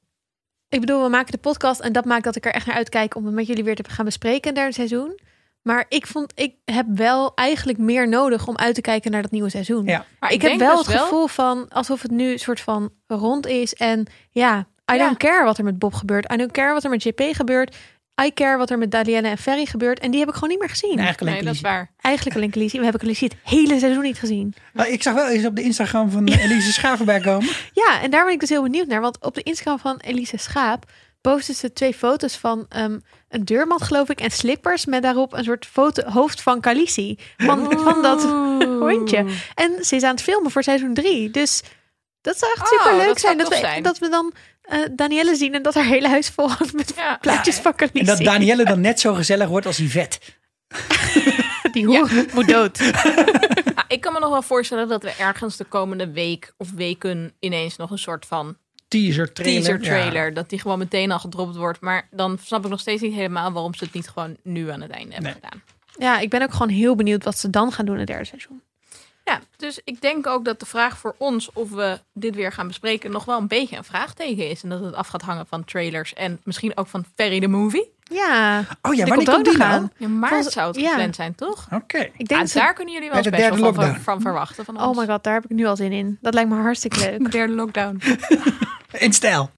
Speaker 3: ik bedoel, we maken de podcast en dat maakt dat ik er echt naar uitkijk om het met jullie weer te gaan bespreken in het derde seizoen. Maar ik vond, ik heb wel eigenlijk meer nodig om uit te kijken naar dat nieuwe seizoen.
Speaker 2: Ja.
Speaker 1: Maar
Speaker 3: Ik, heb
Speaker 1: denk
Speaker 3: wel het
Speaker 1: dus
Speaker 3: gevoel van alsof het nu een soort van rond is en ja, I
Speaker 1: Ja.
Speaker 3: don't care wat er met Bob gebeurt. I don't care wat er met JP gebeurt. I care wat er met Daliana en Ferry gebeurt. En die heb ik gewoon niet meer gezien.
Speaker 2: En eigenlijk
Speaker 1: Nee,
Speaker 2: alleen
Speaker 1: dat is
Speaker 2: Elise.
Speaker 1: waar.
Speaker 3: Eigenlijk alleen Khaleesi. We hebben Khaleesi het hele seizoen niet gezien.
Speaker 2: Nou, ik zag wel eens op de Instagram van eh, Elise Schaven bijkomen.
Speaker 3: Ja, en daar ben ik dus heel benieuwd naar. Want op de Instagram van Elise Schaap postte ze twee foto's van ehm, een deurmat, geloof ik, en slippers met daarop een soort foto hoofd van Khaleesi. Van,
Speaker 1: Oh.
Speaker 3: van dat hondje. En ze is aan het filmen voor seizoen drie. Dus dat zou echt
Speaker 1: Oh,
Speaker 3: super leuk
Speaker 1: dat zou
Speaker 3: zijn, dat we,
Speaker 1: tof zijn.
Speaker 3: dat we dan eh Danielle zien en dat haar hele huis vol hangt met
Speaker 1: Ja.
Speaker 3: plaatjes van Khaleesi.
Speaker 2: En dat Danielle dan net zo gezellig wordt als Yvette.
Speaker 3: Die hoer moet dood.
Speaker 1: Ja, Ah, ik kan me nog wel voorstellen dat we ergens de komende week of weken ineens nog een soort van
Speaker 2: Teaser trailer.
Speaker 1: teaser
Speaker 2: Ja.
Speaker 1: trailer. Dat die gewoon meteen al gedropt wordt. Maar dan snap ik nog steeds niet helemaal waarom ze het niet gewoon nu aan het einde hebben
Speaker 2: Nee.
Speaker 1: gedaan.
Speaker 3: Ja, ik ben ook gewoon heel benieuwd wat ze dan gaan doen in het derde seizoen.
Speaker 1: Ja, dus ik denk ook dat de vraag voor ons of we dit weer gaan bespreken nog wel een beetje een vraagteken is. En dat het af gaat hangen van trailers en misschien ook van Ferry the Movie.
Speaker 3: Ja,
Speaker 2: Oh ja,
Speaker 3: Die
Speaker 2: wanneer
Speaker 3: komt ook
Speaker 2: komt die
Speaker 3: nog
Speaker 2: nou?
Speaker 3: aan.
Speaker 1: Ja, maar
Speaker 3: Volgens-
Speaker 1: zou het
Speaker 3: ja.
Speaker 1: gepland zijn, toch?
Speaker 2: Oké.
Speaker 3: ik
Speaker 1: Ja,
Speaker 3: denk dat...
Speaker 1: Ah, daar kunnen jullie wel
Speaker 2: Bij
Speaker 1: een
Speaker 2: de
Speaker 1: special
Speaker 2: derde
Speaker 1: van, van,
Speaker 2: lockdown.
Speaker 1: van verwachten. Van
Speaker 3: Oh
Speaker 1: ons.
Speaker 3: my god, daar heb ik nu al zin in. Dat lijkt me hartstikke leuk.
Speaker 1: Derde lockdown.
Speaker 2: In stijl.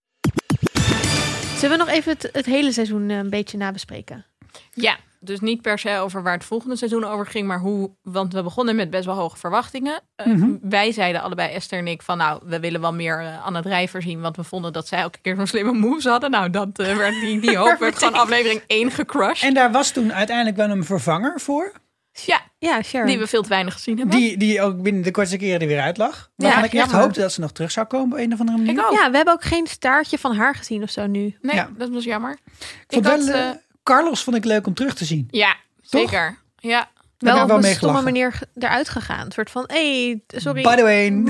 Speaker 3: Zullen we nog even het, het hele seizoen eh, een beetje nabespreken?
Speaker 1: Ja, dus niet per se over waar het volgende seizoen over ging, maar hoe. Want we begonnen met best wel hoge verwachtingen. Eh,
Speaker 2: Mhm.
Speaker 1: Wij zeiden allebei, Esther en ik, van nou, we willen wel meer eh, Anna Drijver zien. Want we vonden dat zij elke keer zo'n slimme moves hadden. Nou, dat, eh, werd, die, die hoop werd gewoon aflevering 1 gecrushed.
Speaker 2: En daar was toen uiteindelijk wel een vervanger voor.
Speaker 1: ja,
Speaker 3: Ja, sure.
Speaker 1: die we veel te weinig gezien hebben.
Speaker 2: Die, die ook binnen de kortste keren er weer uit lag.
Speaker 1: Ja,
Speaker 2: Waarvan ik echt
Speaker 1: jammer.
Speaker 2: hoopte dat ze nog terug zou komen op een of andere manier.
Speaker 1: ik ook.
Speaker 3: Ja, we hebben ook geen staartje van haar gezien of zo nu.
Speaker 1: Nee,
Speaker 2: Ja.
Speaker 1: dat was jammer.
Speaker 2: Ik vond
Speaker 1: Ik had,
Speaker 2: wel, eh,
Speaker 1: eh,
Speaker 2: Carlos vond ik leuk om terug te zien.
Speaker 1: Ja,
Speaker 2: Toch?
Speaker 1: zeker. Ja,
Speaker 2: Daar
Speaker 3: Wel
Speaker 2: heb
Speaker 3: op
Speaker 2: ik wel
Speaker 3: een
Speaker 2: mee
Speaker 3: stomme
Speaker 2: gelachen.
Speaker 3: manier ge- eruit gegaan. Een soort van, hé, hey, sorry.
Speaker 2: By the way, moet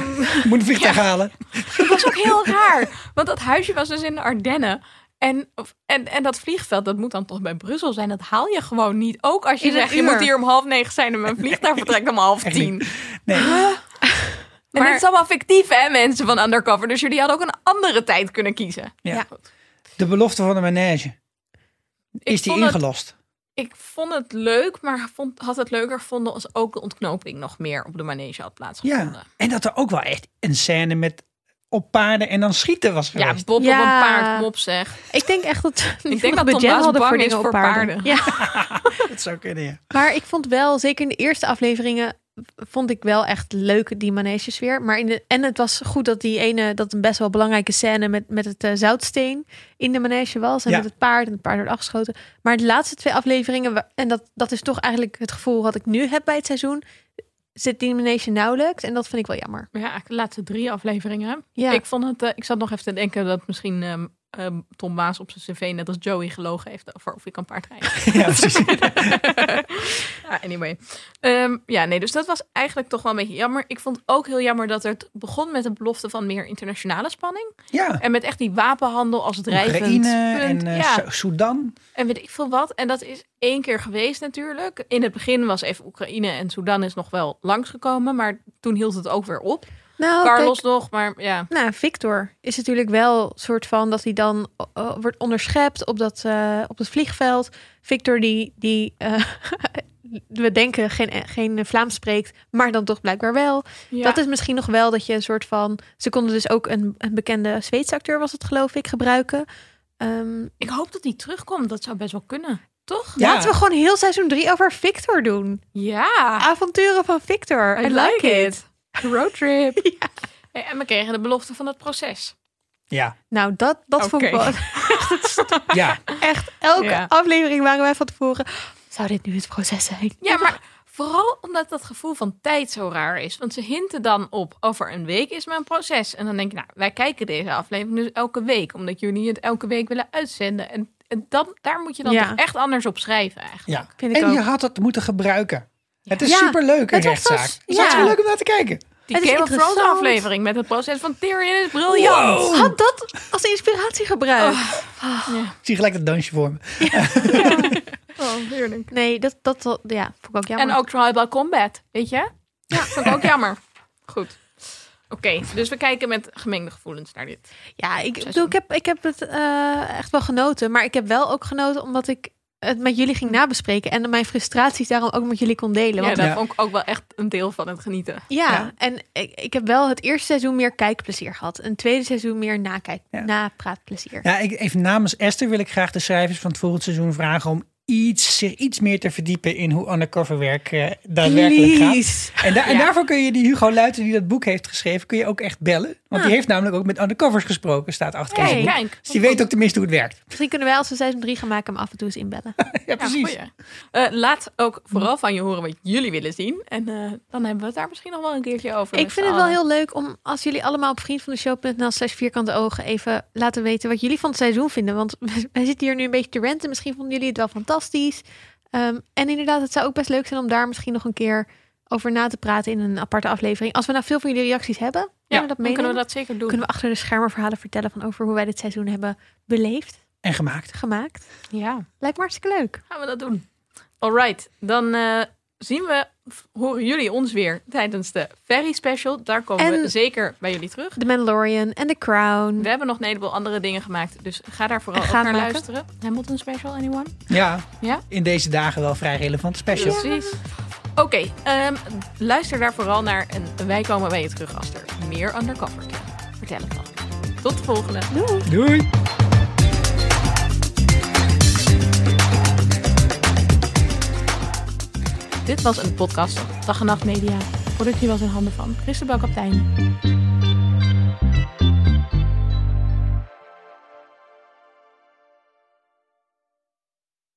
Speaker 2: een vliegtuig halen.
Speaker 1: Dat was ook heel raar. Want dat huisje was dus in de Ardennen. En, of- en, en dat vliegveld, dat moet dan toch bij Brussel zijn. Dat haal je gewoon niet. Ook als je
Speaker 3: In een
Speaker 1: zegt, je
Speaker 3: uur.
Speaker 1: moet hier om half negen zijn en mijn vliegtuig vertrekt om half
Speaker 2: Echt
Speaker 1: tien.
Speaker 2: Nee.
Speaker 1: En dit is allemaal fictief, hè, mensen van Undercover. Dus jullie hadden ook een andere tijd kunnen kiezen.
Speaker 2: Ja.
Speaker 3: Ja.
Speaker 2: De belofte van de manege. Is die
Speaker 1: vond het-
Speaker 2: ingelost?
Speaker 1: Ik vond het leuk, maar vond, had het leuker gevonden als ook de ontknoping nog meer op de manege had plaatsgevonden.
Speaker 2: Ja. En dat er ook wel echt een scène met op paarden en dan schieten was
Speaker 1: Ja,
Speaker 2: geweest.
Speaker 1: Bob op
Speaker 3: Ja.
Speaker 1: een paard, mop zeg.
Speaker 3: Ik denk echt dat
Speaker 1: denk dat Tom Baas bang is voor paarden.
Speaker 3: Ja,
Speaker 2: dat zou kunnen, ja.
Speaker 3: maar ik vond wel, zeker in de eerste afleveringen, vond ik wel echt leuk die maneges weer. Maar in de, en het was goed dat die ene, dat een best wel belangrijke scène met, met het eh, zoutsteen in de manege was. En
Speaker 2: Ja.
Speaker 3: met het paard en het paard werd afgeschoten. Maar de laatste twee afleveringen, wa- en dat, dat is toch eigenlijk het gevoel wat ik nu heb bij het seizoen, zit die manege nauwelijks. En dat vind ik wel jammer.
Speaker 1: Ja, de laatste drie afleveringen.
Speaker 3: Ja.
Speaker 1: Ik, vond het, eh, ik zat nog even te denken dat misschien ehm, ehm, Tom Maas op zijn cv net als Joey gelogen heeft over of ik kan paardrijden.
Speaker 2: ja precies.
Speaker 1: ja, Ah, anyway. Ehm, ja, nee, dus dat was eigenlijk toch wel een beetje jammer. Ik vond ook heel jammer dat het begon met de belofte van meer internationale spanning.
Speaker 2: Ja.
Speaker 1: En met echt die wapenhandel als drijvend
Speaker 2: Oekraïne en
Speaker 1: punt.
Speaker 2: eh,
Speaker 1: ja.
Speaker 2: Su- Sudan.
Speaker 1: En weet ik veel wat. En dat is één keer geweest natuurlijk. In het begin was even Oekraïne en Sudan is nog wel langsgekomen. Maar toen hield het ook weer op.
Speaker 3: Nou,
Speaker 1: Carlos nog, maar ja.
Speaker 3: Nou, Victor is natuurlijk wel soort van dat hij dan eh, wordt onderschept op dat, eh, op het vliegveld. Victor die, die eh, we denken geen, eh, geen Vlaams spreekt, maar dan toch blijkbaar wel.
Speaker 1: ja.
Speaker 3: Dat is misschien nog wel dat je een soort van... Ze konden dus ook een, een bekende Zweedse acteur, was het geloof ik, gebruiken. Ehm,
Speaker 1: Ik hoop dat die terugkomt. Dat zou best wel kunnen. Toch?
Speaker 2: Ja.
Speaker 3: Laten we gewoon heel seizoen 3 over Victor doen.
Speaker 1: Ja.
Speaker 3: Avonturen van Victor. I, like it.
Speaker 1: Roadtrip. Hey, Eh, En we kregen de belofte van het proces.
Speaker 2: Ja.
Speaker 3: Nou, dat, dat vond ik
Speaker 1: Oké.
Speaker 3: wel
Speaker 2: Ja.
Speaker 3: echt... Elke
Speaker 1: Ja.
Speaker 3: aflevering waren wij van tevoren... Zou dit nu het proces zijn?
Speaker 1: Ja, maar vooral omdat dat gevoel van tijd zo raar is. Want ze hinten dan op, over een week is mijn proces. En dan denk je, nou, wij kijken deze aflevering dus elke week. Omdat jullie het elke week willen uitzenden. En, en dan, daar moet je dan
Speaker 3: Ja.
Speaker 1: toch echt anders op schrijven eigenlijk.
Speaker 2: ja.
Speaker 3: Vind ik
Speaker 2: en je
Speaker 3: ook.
Speaker 2: had het moeten gebruiken. Het is
Speaker 3: Ja,
Speaker 2: superleuk, een
Speaker 3: het was
Speaker 2: rechtszaak.
Speaker 3: dus-
Speaker 2: Het is hartstikke
Speaker 3: ja.
Speaker 2: leuk om naar te kijken.
Speaker 1: Die
Speaker 3: Het is
Speaker 1: Game of Thrones
Speaker 3: interessant.
Speaker 1: aflevering met het proces van Tyrion is briljant.
Speaker 3: Had dat als inspiratie gebruikt.
Speaker 2: Ik zie gelijk dat dansje voor me.
Speaker 1: Oh, heerlijk.
Speaker 3: Nee, dat, dat, dat- ja, vond ik ook jammer.
Speaker 1: En ook Tribal Combat, weet je? Ja, vond ik ook jammer. Goed. Oké, dus we kijken met gemengde gevoelens naar dit.
Speaker 3: ja, ik, bedoel, ik, heb, ik heb het eh, echt wel genoten. Maar ik heb wel ook genoten omdat ik het met jullie ging nabespreken. En mijn frustraties daarom ook met jullie kon delen.
Speaker 1: Hm. ja,
Speaker 3: Want,
Speaker 1: dat
Speaker 2: Ja.
Speaker 1: vond ik ook wel echt een deel van het genieten.
Speaker 3: ja,
Speaker 2: Ja.
Speaker 3: en ik, ik heb wel het eerste seizoen meer kijkplezier gehad. Een tweede seizoen meer nakijk,
Speaker 2: Ja.
Speaker 3: napraatplezier.
Speaker 2: Ja, ik, even namens Esther wil ik graag de schrijvers van het volgend seizoen vragen om iets, zich iets meer te verdiepen in hoe undercoverwerk eh, daadwerkelijk
Speaker 3: Please.
Speaker 2: gaat. En, da- en
Speaker 1: Ja.
Speaker 2: daarvoor kun je die Hugo Luiten die dat boek heeft geschreven, kun je ook echt bellen. Want die
Speaker 3: Ah.
Speaker 2: heeft namelijk ook met undercovers gesproken, staat achter in
Speaker 1: Kijk,
Speaker 2: zijn boek.
Speaker 1: kijk.
Speaker 2: Dus die weet ook tenminste hoe het werkt.
Speaker 3: Misschien kunnen wij als we seizoen 3 gaan maken hem af en toe eens inbellen.
Speaker 2: Ja, precies.
Speaker 1: goeie. Eh, laat ook vooral van je horen wat jullie willen zien. En eh, dan hebben we het daar misschien nog wel een keertje over.
Speaker 3: Ik
Speaker 1: met
Speaker 3: vind
Speaker 1: z'n
Speaker 3: het wel
Speaker 1: allen.
Speaker 3: heel leuk om als jullie allemaal op vriendvandeshow.nl slash vierkante ogen even laten weten wat jullie van het seizoen vinden. Want wij zitten hier nu een beetje te renten. Misschien vonden jullie het wel fantastisch. Ehm, en inderdaad, het zou ook best leuk zijn om daar misschien nog een keer over na te praten in een aparte aflevering. Als we nou veel van jullie reacties hebben,
Speaker 1: Ja,
Speaker 3: kunnen we
Speaker 1: dan
Speaker 3: dat
Speaker 1: kunnen
Speaker 3: meenemen.
Speaker 1: we dat zeker doen.
Speaker 3: Kunnen we achter de schermen verhalen vertellen van over hoe wij dit seizoen hebben beleefd,
Speaker 2: En gemaakt.
Speaker 3: gemaakt.
Speaker 1: Ja,
Speaker 3: Lijkt me hartstikke leuk.
Speaker 1: gaan we dat doen. All right, dan eh, zien we, of horen jullie ons weer tijdens de Ferry Special. Daar komen we
Speaker 3: En-
Speaker 1: zeker bij jullie terug.
Speaker 3: The Mandalorian en The Crown.
Speaker 1: We hebben nog een heleboel andere dingen gemaakt, dus ga daar vooral
Speaker 3: Mm. Ga
Speaker 1: ook naar
Speaker 3: maken.
Speaker 1: luisteren. Hamilton Special, anyone?
Speaker 2: Ja,
Speaker 1: Ja?
Speaker 2: in deze dagen wel vrij relevant special.
Speaker 1: Precies. Oké, ehm, luister daar vooral naar en wij komen bij je terug als er meer undercover is. Vertel het dan. Tot de volgende.
Speaker 3: Doei!
Speaker 2: Doei!
Speaker 1: Dit was een podcast van Dag en Nacht Media. Productie was in handen van Christabel Kaptein.